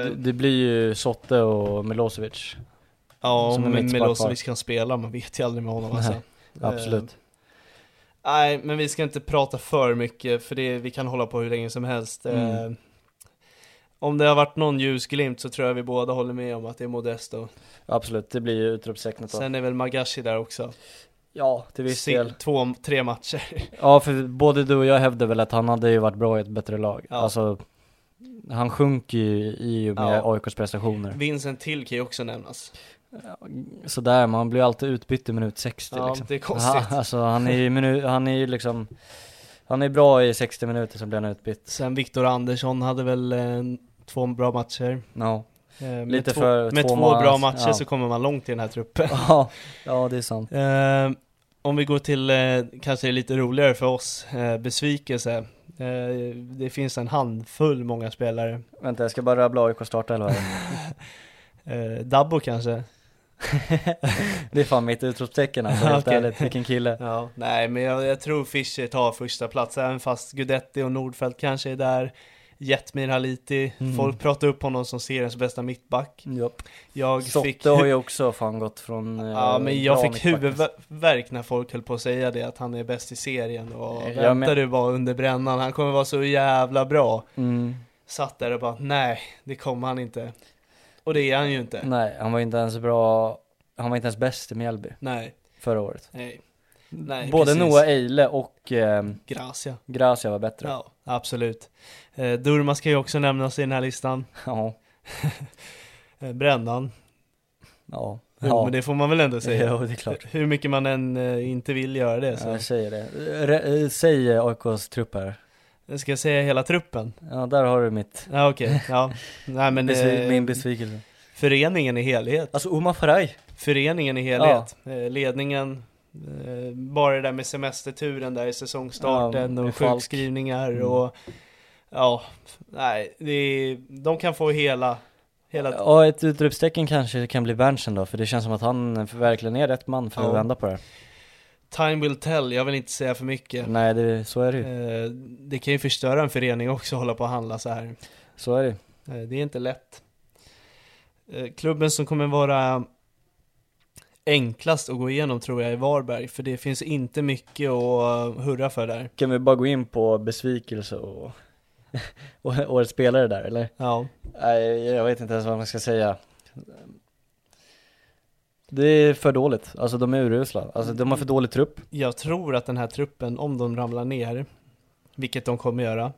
B: Det, det blir ju Sotte och Milosevic.
A: ja,
B: som
A: om
B: en mittback
A: Milosevic kan spela, man vet ju aldrig med honom alltså.
B: Nej, Absolut.
A: Nej, men vi ska inte prata för mycket för det, vi kan hålla på hur länge som helst.
B: Mm.
A: Eh, Om det har varit någon ljusglimt så tror jag vi båda håller med om att det är Modesto.
B: Absolut, det blir ju utropstecknet då.
A: Sen är väl Magashi där också.
B: ja, till viss
A: Se-
B: del.
A: Två, tre matcher. [laughs]
B: Ja, för både du och jag hävdar väl att han hade ju varit bra i ett bättre lag.
A: Ja.
B: Alltså, han sjunker ju i och med
A: Ja.
B: AIKs prestationer.
A: Vincent Till kan ju också nämnas.
B: Sådär, man blir alltid utbytt i minut 60
A: Ja,
B: liksom.
A: det är konstigt.
B: Ja, alltså han är ju minu- han är ju liksom, han är bra i 60 minuter, sen blir han utbytt.
A: Sen Viktor Andersson hade väl eh, två bra matcher.
B: No.
A: Eh, med
B: Lite
A: två,
B: för
A: Med
B: två
A: två,
B: månader-
A: bra matcher
B: ja.
A: så kommer man långt i den här
B: [laughs]
A: truppen.
B: [laughs] Ja, ja det är sant.
A: Eh, om vi går till, eh, kanske är lite roligare för oss, eh, besvikelse. Eh, det finns en handfull många spelare.
B: Vänta, jag ska bara rabbla AIK startelva här.
A: Eh, Dabbo kanske?
B: [laughs] Det är fan mitt
A: [laughs]
B: utropstecken alltså, helt
A: Okej.
B: ärligt. Vilken kille.
A: Ja, nej men jag, jag tror Fischer tar första plats även fast Gudetti och Nordfeldt kanske är där. Jetmir Haliti,
B: Mm.
A: folk pratar upp honom som seriens bästa mittback.
B: Japp.
A: Jag fick,
B: Sotte har ju också fan gått från... eh,
A: ja, men jag
B: bra
A: fick
B: mittback.
A: huvudvärk när folk höll på att säga det, att han är bäst i serien. Och
B: Jag
A: vänta
B: men-
A: du bara under brännan, han kommer vara så jävla bra.
B: Mm.
A: Satt där och bara, nej, det kommer han inte. Och det är han ju inte.
B: Nej, han var inte ens bra, han var inte ens bäst i Mjällby
A: Nej,
B: förra året.
A: nej, nej.
B: Både
A: precis.
B: Noah Eile och eh,
A: Gracia.
B: Gracia var bättre. Ja.
A: Ja, absolut. Eh, Durmaz kan ju också nämnas i den här listan.
B: Ja.
A: Eh, Brännan.
B: ja.
A: Jo, men det får man väl ändå
B: [laughs]
A: säga.
B: Jo, det är klart.
A: Hur mycket man än eh, inte vill göra det så.
B: Jag säger det. Re, eh, säg eh, AIKs trupp här.
A: Jag ska säga hela truppen?
B: Ja, där har du mitt,
A: Ja okej,
B: [laughs]
A: ja. Nej men
B: besvi-
A: eh,
B: min besvikelse.
A: föreningen i helhet.
B: Alltså Uma Faraj.
A: Föreningen i helhet. Eh, ledningen. Eh, bara det där med semesterturen där i säsongstarten
B: Ja, med
A: och
B: Falk.
A: sjukskrivningar
B: Mm.
A: och ja, nej, det är, de kan få hela, hela
B: Ja, ett utropstecken kanske kan bli Berntsen då, för det känns som att han verkligen är rätt man för
A: Ja.
B: att vända på det här.
A: time will tell, jag vill inte säga för mycket.
B: Nej, det, så är det ju.
A: Eh, det kan ju förstöra en förening också att hålla på och handla så här.
B: Så är det ju.
A: Eh, Det är inte lätt. Eh, Klubben som kommer vara enklast att gå igenom tror jag är Varberg, för det finns inte mycket att eh, hurra för där.
B: Kan vi bara gå in på besvikelse och, [laughs] och årets spelare där, eller?
A: Ja,
B: Nej, jag vet inte ens vad man ska säga. Det är för dåligt, alltså de är urusla. Alltså de har för dålig trupp.
A: jag tror att den här truppen, om de ramlar ner, vilket de kommer göra,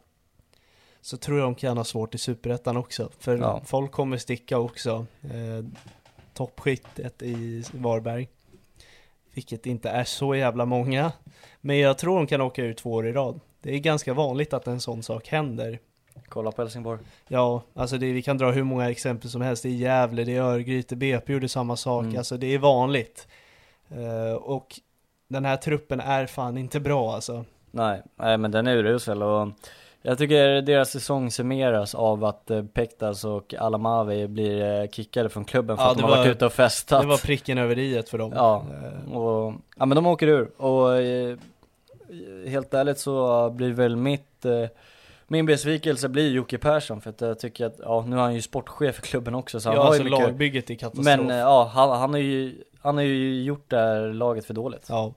A: så tror jag de kan ha svårt i Superettan också, för
B: Ja.
A: folk kommer sticka också. Eh, Toppskiktet i Varberg, vilket inte är så jävla många, men jag tror de kan åka ur två år i rad. Det är ganska vanligt att en sån sak händer
B: Kolla på Helsingborg.
A: Ja, alltså det, vi kan dra hur många exempel som helst. Det är Gävle, det är Örgryte, BP gjorde samma sak.
B: Mm.
A: Alltså det är vanligt. Eh, och den här truppen är fan inte bra alltså.
B: Nej, nej men den är urusel och jag tycker deras säsong summeras av att eh, Pektas och Alamavi blir eh, kickade från klubben för
A: Ja,
B: att de
A: det
B: har
A: var-
B: varit ute och festat.
A: Det var pricken över iet för dem.
B: Ja,
A: Eh,
B: och, ja men de åker ur och eh, helt ärligt så blir väl mitt, eh, min besvikelse blir Jocke Persson för att jag tycker att, ja nu är han ju sportchef för klubben också så han
A: ja,
B: har
A: alltså
B: ju mycket,
A: lagbygget är katastrof.
B: men eh, ja han, han har ju, han har ju gjort det här laget för dåligt.
A: ja.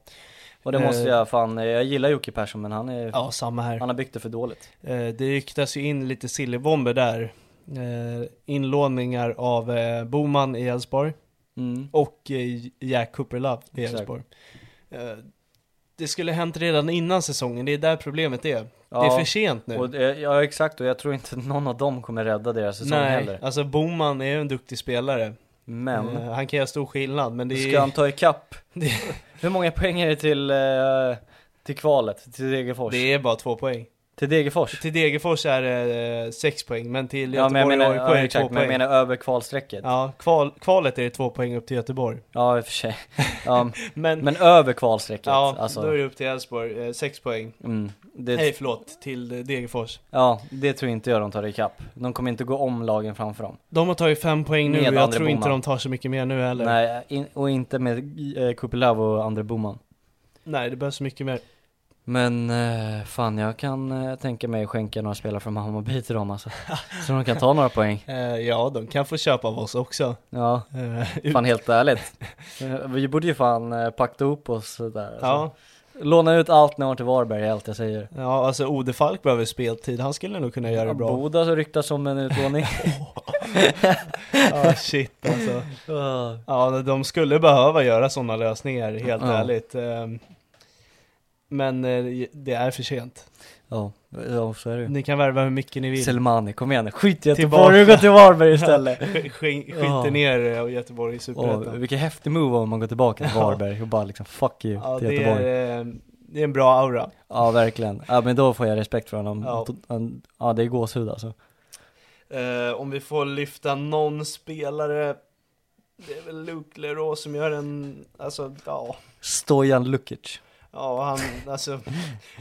B: Och det måste
A: eh,
B: jag fan, eh, jag gillar Jocke Persson men han är,
A: ja, samma här.
B: han har byggt det för dåligt.
A: Eh, det ryktas ju in lite sillebomber där. Eh, inlåningar av eh, Boman i Elfsborg.
B: Mm.
A: och eh, Jack Cooper Love i
B: Exakt.
A: Elfsborg. Eh, Det skulle ha hänt redan innan säsongen, det är där problemet är. Det är
B: Ja,
A: för sent nu.
B: och, eh, ja exakt och jag tror inte någon av dem kommer rädda deras säsong
A: Nej,
B: heller.
A: alltså Boman är ju en duktig spelare.
B: Men,
A: Eh, Han kan göra stor skillnad, men det är...
B: ska han ta ikapp? [laughs]
A: Det-
B: Hur många poäng är det till, eh, till kvalet? Till Degerfors?
A: Det är bara två poäng.
B: Till Degerfors?
A: Till Degerfors är det eh, sex poäng, men till Göteborg och AIK är det två
B: ja, exakt, men jag
A: poäng.
B: menar över kvalstrecket. Ja,
A: Ja, kval, kvalet är det två poäng upp till Göteborg.
B: i och
A: [laughs]
B: för sig. Ja,
A: Men,
B: men över kvalstrecket,
A: ja,
B: alltså.
A: då är det upp till Elfsborg, eh, sex poäng.
B: Mm, det,
A: Nej, förlåt, till eh, Degerfors.
B: Ja, det tror inte jag de tar ikapp. De kommer inte gå om lagen framför dem.
A: De har tagit fem poäng nu
B: Med
A: och jag
B: André
A: tror inte
B: Boman.
A: de tar så mycket mer nu heller.
B: Nej, in, och inte med eh, Kupilov och Andre Boman.
A: Nej, det behövs mycket mer.
B: Men eh, fan, jag kan eh, tänka mig skänka några spelare från Hammarby till
A: [laughs]
B: dem alltså. Så de kan ta några poäng.
A: Eh, ja, de kan få köpa av oss också.
B: Ja.
A: Eh, ut-
B: [laughs] Fan helt ärligt. Eh, Vi borde ju fan eh, pakta ihop oss där. Alltså.
A: ja,
B: Låna ut allt när hon till Varberg är allt jag säger.
A: Ja, alltså Ode Falk behöver speltid, han skulle nog kunna göra det bra.
B: Boda så ryktas som en utlåning.
A: Ja, shit alltså.
B: Ah.
A: [laughs] Ja, de skulle behöva göra sådana lösningar, helt
B: Ja.
A: ärligt. Ehm, Men eh, det är för sent.
B: Ja, ja så är det ju.
A: Ni kan värva hur mycket ni vill. [laughs]
B: Selmani, kom igen nu. Skit i Göteborg och gå till Varberg istället.
A: Sk- sk-
B: [laughs] Ja.
A: Skiter ner eh, Göteborg i
B: Åh,
A: Superettan.
B: vilken häftig move om man går tillbaka till Varberg och bara liksom fuck you
A: Ja,
B: till
A: det
B: Göteborg.
A: är, eh, det är en bra aura.
B: Ja verkligen. Ja men då får jag respekt för honom.
A: Ja.
B: Ja, ja det är gåshud alltså.
A: Eh, om vi får lyfta någon spelare, det är väl Luke Leroux som gör en, alltså ja,
B: Stojan Lukic.
A: ja han,
B: [laughs]
A: alltså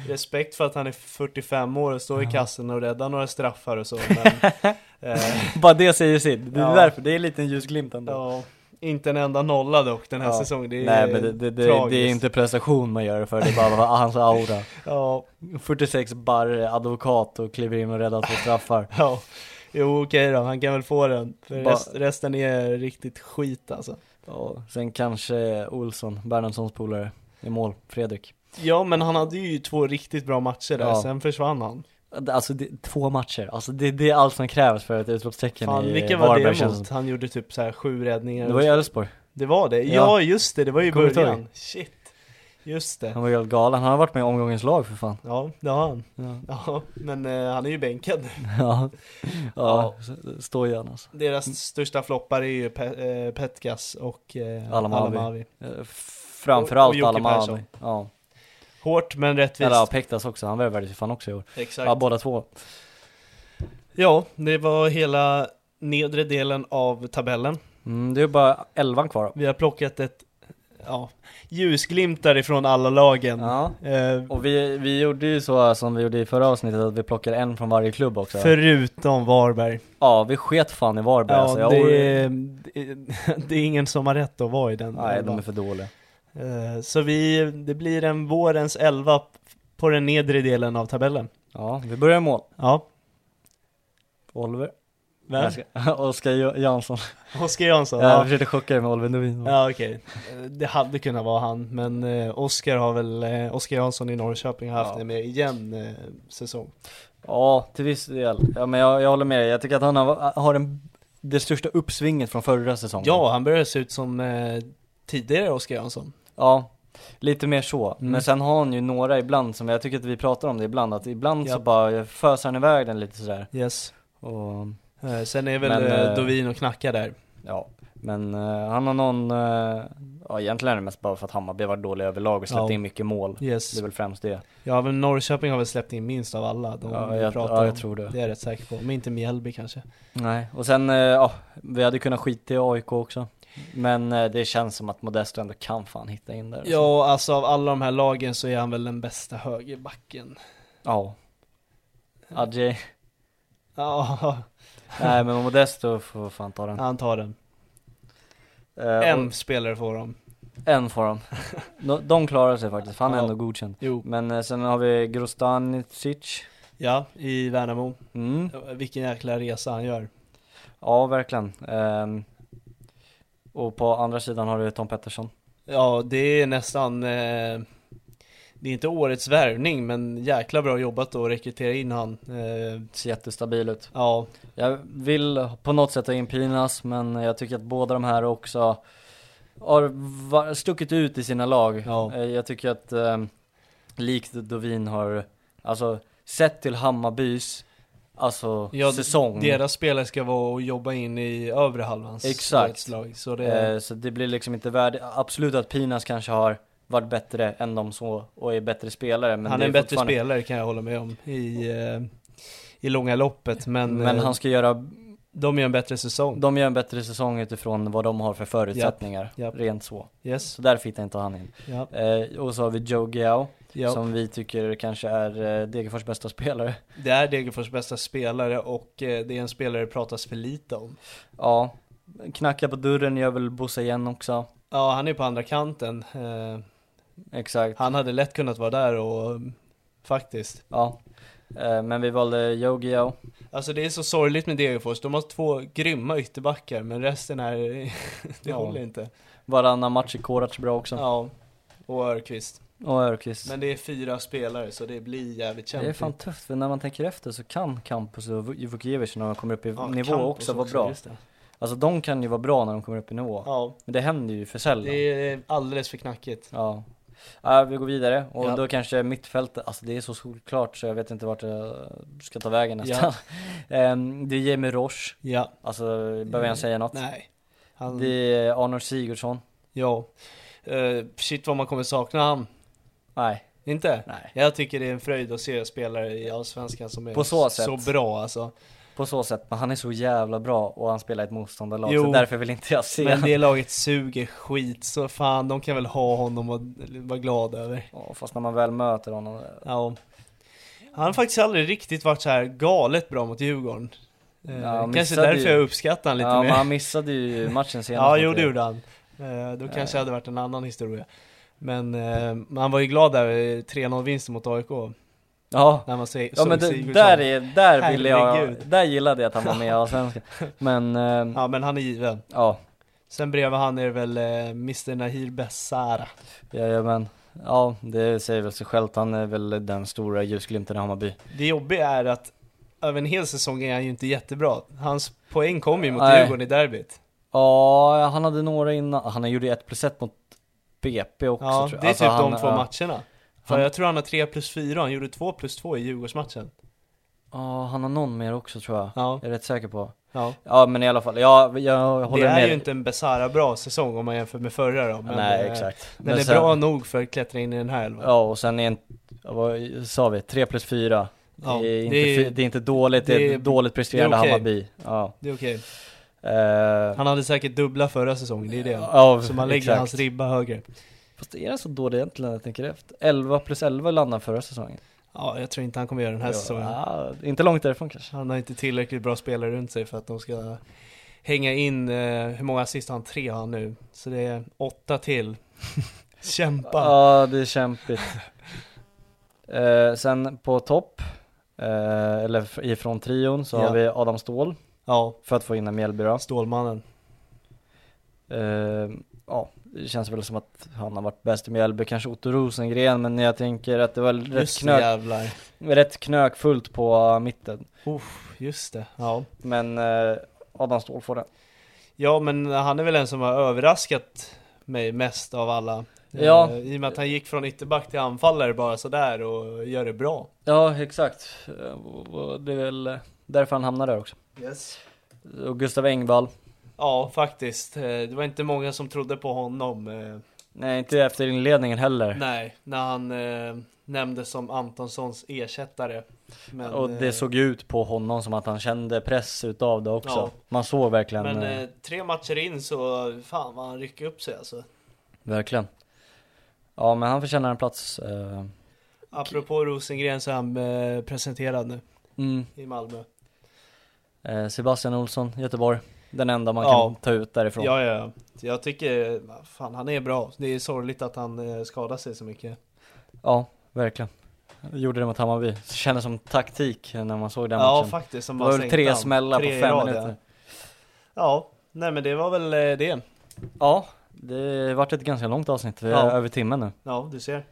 A: respekt för att han är 45 år och står i kassen och räddar några straffar och så, men eh,
B: Bara det säger sitt. Det är
A: Ja.
B: därför, det är en liten ljusglimt ändå.
A: ja, inte en enda nolla dock den här
B: Ja.
A: säsongen, det är
B: Nej men det, det, det, det är
A: tragiskt.
B: inte prestation man gör det för, det är bara vad-
A: [laughs]
B: hans aura.
A: Ja,
B: 46 barre, advokat och kliver in och räddar två
A: [laughs]
B: straffar.
A: ja. Jo okej då, han kan väl få den. För
B: Bara-
A: rest, resten är riktigt skit alltså.
B: Och sen kanske Olsson, Bernhardssons polare, i mål, Fredrik.
A: Ja men han hade ju två riktigt bra matcher där,
B: Ja.
A: sen försvann han.
B: Alltså det, två matcher, alltså det, det är allt som krävs för ett utropstecken
A: Fan,
B: i
A: vilken var
B: Varberg
A: det
B: känns det
A: mot?
B: som.
A: Han gjorde typ så här sju räddningar.
B: Det var ju Elfsborg,
A: det, var det. Ja.
B: Ja.
A: just det, det var ju i
B: Kommer du
A: början.
B: ihåg?
A: Shit. Just
B: han
A: det.
B: var ju helt galen, han har varit med i omgångens lag för fan [laughs]
A: Ja, det har han.
B: Ja,
A: Ja, men eh, han är ju bänkad nu.
B: ja, ja. stå igen alltså
A: Deras största floppar är ju Pe- eh, Petkas och eh,
B: Alamavi.
A: Alamavi.
B: Eh,
A: Och- och
B: Framförallt
A: Jocke
B: alla
A: Persson.
B: man Ja,
A: Hårt men rättvist.
B: eller ja, Pektas också, han värvades ju fan också i år
A: Exakt.
B: Ja, båda två
A: Ja, det var hela nedre delen av tabellen.
B: mm, Det är ju bara elvan kvar då.
A: Vi har plockat ett ja, ljusglimtar ifrån alla lagen.
B: Ja,
A: Eh,
B: och vi, vi gjorde ju så eh, som vi gjorde i förra avsnittet att vi plockade en från varje klubb också
A: förutom Varberg.
B: Ja, vi sket fan i Varberg alltså.
A: Ja,
B: Jag,
A: det, är, det är ingen som har rätt att vara i den
B: Nej, de
A: elvan.
B: är för dåliga
A: Eh, Så vi, det blir en vårens elva på den nedre delen av tabellen.
B: Ja, vi börjar i mål
A: Ja,
B: Oliver
A: vem?
B: Jag ska- [laughs] Oskar Jo- Jansson
A: Oskar Jansson?
B: Jag
A: Ja,
B: försökte chocka dig med Oliver Novin
A: ja okej. Eh, Det hade kunnat vara han, men eh, Oskar har väl, eh, Oskar Jansson i Norrköping har haft
B: Ja.
A: en mer jämn eh, säsong.
B: Ja, till viss del. Ja, men jag, jag håller med dig. Jag tycker att han har, har en, det största uppsvinget från förra säsongen.
A: Ja, han börjar se ut som eh, tidigare Oskar Jansson.
B: Ja, lite mer så.
A: Mm.
B: Men sen har han ju några ibland som jag tycker att vi pratar om det ibland, att ibland så
A: Ja.
B: bara föser han iväg den lite sådär.
A: Yes.
B: Och,
A: Sen är väl
B: Men,
A: eh,
B: eh,
A: Dovin och Knacka där.
B: ja. Men eh, han har någon, eh, ja egentligen är det mest bara för att Hammarby har varit dåliga överlag och släppt
A: Ja.
B: in mycket mål. Det
A: Yes.
B: är väl främst det.
A: Ja, men Norrköping har väl släppt in minst av alla de
B: Ja,
A: vi
B: jag,
A: pratar
B: ja,
A: om.
B: jag tror det.
A: Det är jag rätt säker på, men inte Mjällby kanske.
B: Nej, och sen, eh, ja, vi hade kunnat skita i AIK också. Men eh, det känns som att Modesto ändå kan fan hitta in där.
A: Ja, alltså av alla de här lagen så är han väl den bästa högerbacken.
B: Ja. Adjei.
A: Ja, [laughs]
B: Nej men Modesto får fan ta den.
A: han tar den.
B: Eh,
A: En
B: och-
A: spelare får de.
B: En
A: [laughs]
B: får de. De, de klarar sig faktiskt, för han är
A: Ja.
B: ändå godkänd.
A: Jo.
B: Men eh, sen har vi Grostanicic.
A: Ja, i Värnamo.
B: Mm.
A: Vilken jäkla resa han gör.
B: Ja verkligen. Ehm, och på andra sidan har du Tom Pettersson.
A: Ja, det är nästan... Eh, det är inte årets värvning, men jäkla bra jobbat då att rekrytera in han. Eh,
B: Ser jättestabil ut.
A: ja,
B: Jag vill på något sätt ha in Pinas men jag tycker att båda de här också har va- stuckit ut i sina lag.
A: Ja.
B: Eh, Jag tycker att ehm, likt Dovin har, alltså sett till Hammarbys, alltså
A: ja
B: säsong.
A: deras spelare ska vara och jobba in i övre halvans
B: Exakt.
A: lag. Så det,
B: Eh, så det blir liksom inte värd, absolut att Pinas kanske har varit bättre än de så och är bättre spelare. Men
A: han
B: det
A: är en bättre
B: fortfarande-
A: spelare kan jag hålla med om i, eh, i långa loppet, men,
B: Mm, Men
A: eh,
B: han ska göra,
A: de gör en bättre säsong.
B: de gör en bättre säsong utifrån vad de har för förutsättningar.
A: japp.
B: Rent så.
A: Yes.
B: Så där hittar inte han in.
A: Ja.
B: Eh, och så har vi Joe Giao.
A: Ja.
B: Som vi tycker kanske är eh, Degerfors bästa spelare.
A: Det är Degerfors bästa spelare och eh, det är en spelare det pratas för lite om.
B: Ja, knacka på dörren gör väl Bosse igen också.
A: Ja, han är på andra kanten. Eh,
B: Exakt.
A: Han hade lätt kunnat vara där och eh, faktiskt.
B: Ja. Eh, men vi valde Joe Giao.
A: Alltså det är så sorgligt med Degerfors. De har två grymma ytterbackar men resten är, [laughs] det
B: Ja.
A: håller inte.
B: Varannan match är Korac bra också.
A: Ja, och Örqvist.
B: Och Örqvist.
A: Men det är fyra spelare så det blir jävligt
B: Det är
A: kämpigt.
B: fan tufft, för när man tänker efter så kan Campus och Vu- Vukiewicz när de kommer upp i
A: Ja,
B: nivå
A: Campos
B: också vara bra.
A: just det.
B: Alltså de kan ju vara bra när de kommer upp i nivå.
A: Ja,
B: Men det händer ju för sällan.
A: det är alldeles för knackigt.
B: Ja. Ja, vi går vidare och
A: Ja.
B: då kanske mittfältet, alltså det är så solklart så jag vet inte vart jag ska ta vägen nästan. [laughs] Ehm, det är Jamie Roche,
A: Ja,
B: alltså behöver jag säga något?
A: nej. Han,
B: Det är Arnold Sigurdsson?
A: Ja. Eh, shit vad man kommer sakna han.
B: Nej.
A: Inte?
B: Nej.
A: Jag tycker det är en fröjd att se spelare i Allsvenskan som är
B: På så
A: s- så
B: sätt.
A: bra alltså.
B: På så sätt, men han är så jävla bra och han spelar i ett motståndarlag
A: Jo.
B: så därför vill inte jag se
A: Men
B: honom.
A: det laget suger skit så fan de kan väl ha honom och vara glada över.
B: Ja, fast när man väl möter honom.
A: Ja. Han har faktiskt aldrig riktigt varit så här galet bra mot Djurgården. Eh,
B: Ja, han
A: kanske
B: missade
A: därför
B: ju-
A: jag uppskattar han lite
B: ja,
A: mer.
B: men han missade ju matchen senast.
A: Ja,
B: mot
A: jo
B: er.
A: det gjorde han. Eh, Då kanske det hade varit en annan historia. Men eh, man var ju glad där eh, vid 3-0 vinsten mot AIK.
B: Ja.
A: När man se,
B: Ja
A: såg
B: men det,
A: Sigurdsson.
B: där, är, där ville jag,
A: Herregud.
B: där gillade jag att han
A: [laughs]
B: var med i Allsvenskan. Men, ehm,
A: Ja men han är given.
B: ja.
A: Sen bredvid han är det väl eh, Mr Nahir Bessara.
B: Jajamän. Ja, det säger väl sig självt. Han är väl den stora ljusglimten i Hammarby.
A: Det jobbiga är att över en hel säsong är han ju inte jättebra. Hans poäng kom ju mot
B: Nej.
A: Djurgården i derbyt.
B: Ja, han hade några innan. Han gjorde ju ett plus ett mot BP också
A: Ja,
B: tror jag.
A: det är
B: Alltså,
A: typ
B: han,
A: de två
B: ja.
A: matcherna. För
B: Han-
A: jag tror han har 3 plus 4, han gjorde 2 plus 2 i Djurgårdsmatchen.
B: Ja, han har någon mer också tror jag.
A: Ja.
B: Jag är rätt säker på.
A: Ja.
B: Ja, men i alla fall. Ja, jag, jag håller
A: Det är
B: med.
A: ju inte en Bessara bra säsong om man jämför med förra då. Men
B: Nej,
A: eh,
B: exakt.
A: Den
B: Men
A: är
B: sen-
A: bra nog för att klättra in i den här elvan.
B: Ja, och sen är en, ja, vad sa vi? 3 plus 4.
A: Ja,
B: det, är inte,
A: det är-
B: fi- det är inte dåligt, det,
A: det
B: är
A: är-
B: dåligt presterande
A: det är okej.
B: Hammarby. Ja.
A: Det är okej.
B: Eh,
A: Han hade säkert dubbla förra säsongen, det är det.
B: Ja,
A: så man lägger
B: exakt.
A: hans ribba högre.
B: fast är det så dåligt egentligen när jag tänker efter? 11 plus 11 landade förra säsongen.
A: Ja, jag tror inte han kommer göra den här säsongen.
B: Ja, inte långt därifrån kanske.
A: Han har inte tillräckligt bra spelare runt sig för att de ska hänga in, eh, hur många assist har han? Tre har han nu. Så det är åtta
B: [laughs]
A: till. Kämpa!
B: Ja, det är [laughs] kämpigt. Eh, sen på topp, eh, eller f- ifrån trion, så
A: Ja.
B: har vi Adam Ståhl
A: Ja,
B: för att få in en Mjällby då.
A: Stålmannen.
B: Eh, ja, det känns väl som att han har varit bäst i Mjällby, kanske Otto Rosengren, men jag tänker att det var rätt,
A: Just det
B: knök,
A: jävlar.
B: rätt knökfullt på mitten.
A: Uff, just det. Ja.
B: Men eh, Adam Ståhl får den.
A: ja, men han är väl en som har överraskat mig mest av alla. Eh,
B: Ja.
A: I och med att han gick från ytterback till anfallare bara sådär och gör det bra.
B: Ja, exakt. Eh, och- och Det är väl därför han hamnar där också.
A: Yes.
B: Och Gustav Engvall.
A: Ja, faktiskt. Eh, Det var inte många som trodde på honom. eh,
B: Nej, inte efter inledningen heller.
A: Nej, när han eh, nämndes som Antonssons ersättare. Men,
B: Och det
A: eh,
B: såg ju ut på honom som att han kände press utav det också.
A: Ja.
B: Man såg verkligen,
A: men
B: eh,
A: eh, tre matcher in så fan vad han rycker upp sig alltså.
B: verkligen. Ja men han förtjänar en plats. Eh,
A: Apropå Rosengren så är han eh, presenterad nu
B: mm.
A: i Malmö.
B: eh, Sebastian Olsson, Göteborg. Den enda man
A: Ja.
B: kan ta ut därifrån.
A: Ja, ja, ja. Så Jag tycker, fan han är bra. Det är sorgligt att han eh, skadar sig så mycket.
B: Ja, verkligen. Gjorde det mot Hammarby. Det kändes som taktik när man såg den
A: ja,
B: matchen.
A: faktiskt. Som
B: Det
A: man
B: var väl
A: sänkte
B: tre
A: han.
B: smällar
A: Tre
B: på
A: i
B: fem
A: rad, ja.
B: minuter.
A: Ja, nej men det var väl eh, det.
B: Ja, det vart ett ganska långt avsnitt. Vi är
A: Ja.
B: över timmen nu.
A: Ja, du ser.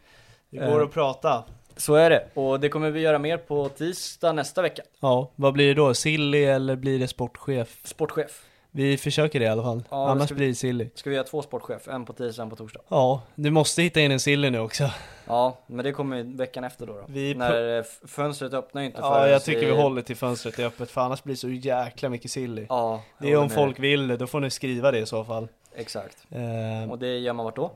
A: Det
B: Eh.
A: går att prata.
B: Så är det. Och det kommer vi göra mer på tisdag nästa vecka.
A: Ja, vad blir det då? Silly eller blir det sportchef?
B: Sportchef.
A: Vi försöker det i alla fall.
B: Ja, det
A: Annars
B: ska vi-
A: blir det silly.
B: Ska vi göra två sportchef? En på tisdag, en på torsdag.
A: Ja, du måste hitta in en silly nu också. [laughs]
B: Ja, men det kommer ju veckan efter då. då.
A: Vi
B: När eh, f- fönstret öppnar ju inte
A: Ja,
B: förrän
A: jag tycker vi håller till fönstret är öppet för annars blir det så jäkla mycket silly.
B: Ja, jag
A: det är om
B: håller med
A: folk
B: dig.
A: vill det, då får ni skriva det i så fall.
B: Exakt.
A: Eh,
B: Och det gör man vart då?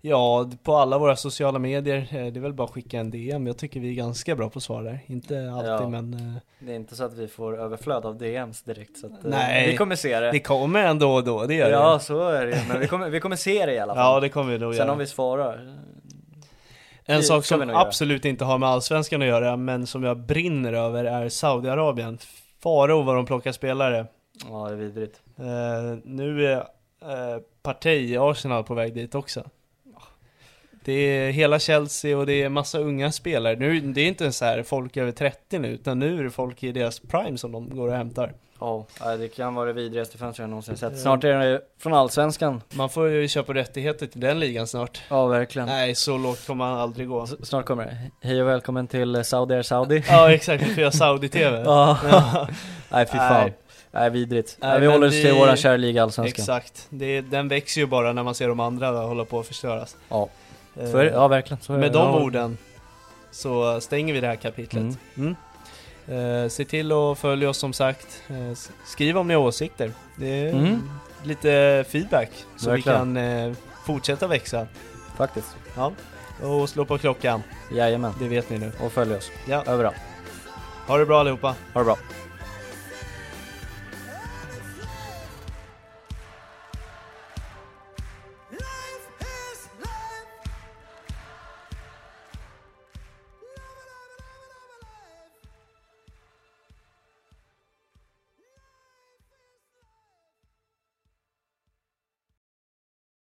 A: ja, på alla våra sociala medier, eh, det är väl bara att skicka en DM. Jag tycker vi är ganska bra på att svara där. Inte alltid
B: Ja.
A: men eh,
B: Det är inte så att vi får överflöd av DMs direkt så att, eh,
A: Nej.
B: Vi kommer se det.
A: det kommer ändå och då, det gör
B: ja,
A: det.
B: så är det Men vi kommer, vi kommer se det i alla fall.
A: Ja, det kommer vi nog
B: Sen
A: göra.
B: om vi svarar. det
A: En sak
B: ska vi
A: som
B: nog göra.
A: absolut inte har med Allsvenskan att göra, men som jag brinner över är Saudiarabien. Faro vad de plockar spelare.
B: Ja, det är vidrigt.
A: Eh, nu är eh, Partey i Arsenal på väg dit också. Det är hela Chelsea och det är massa unga spelare. Nu, det är inte så här folk över 30 nu, utan nu är det folk i deras prime som de går och hämtar.
B: Ja, nej, det kan vara det vidrigaste fönstret jag någonsin
A: Mm.
B: sett. Snart är det från Allsvenskan.
A: Man får ju köpa rättigheter till den ligan snart.
B: Ja, verkligen.
A: Nej, så lågt kommer han aldrig gå.
B: S- Snart kommer det. Hej och välkommen till eh, Saudi
A: [laughs]
B: Air Saudi.
A: Ja, exakt, vi får göra Saudi-TV.
B: Ja. Nej, fy fan.
A: [laughs] Nej.
B: Nej, vidrigt.
A: Nej,
B: Nej, vi
A: men
B: håller oss till
A: vi-
B: våran kära liga Allsvenskan.
A: Exakt, det, den växer ju bara när man ser de andra hålla på att förstöras.
B: Ja.
A: Eh,
B: Så är det, ja, verkligen. Så är
A: Med
B: det.
A: de
B: ja.
A: orden så stänger vi det här kapitlet.
B: Mm.
A: Eh, se till att följa oss som sagt. Eh, s- skriv om ni har åsikter. Det är
B: Mm.
A: lite feedback så
B: Verkligen.
A: vi kan eh, fortsätta växa.
B: Faktiskt.
A: Ja. Och slå på klockan,
B: Jajamän.
A: det vet ni nu.
B: Och följ oss.
A: Ja.
B: Överallt.
A: Ha det bra allihopa!
B: Ha det bra.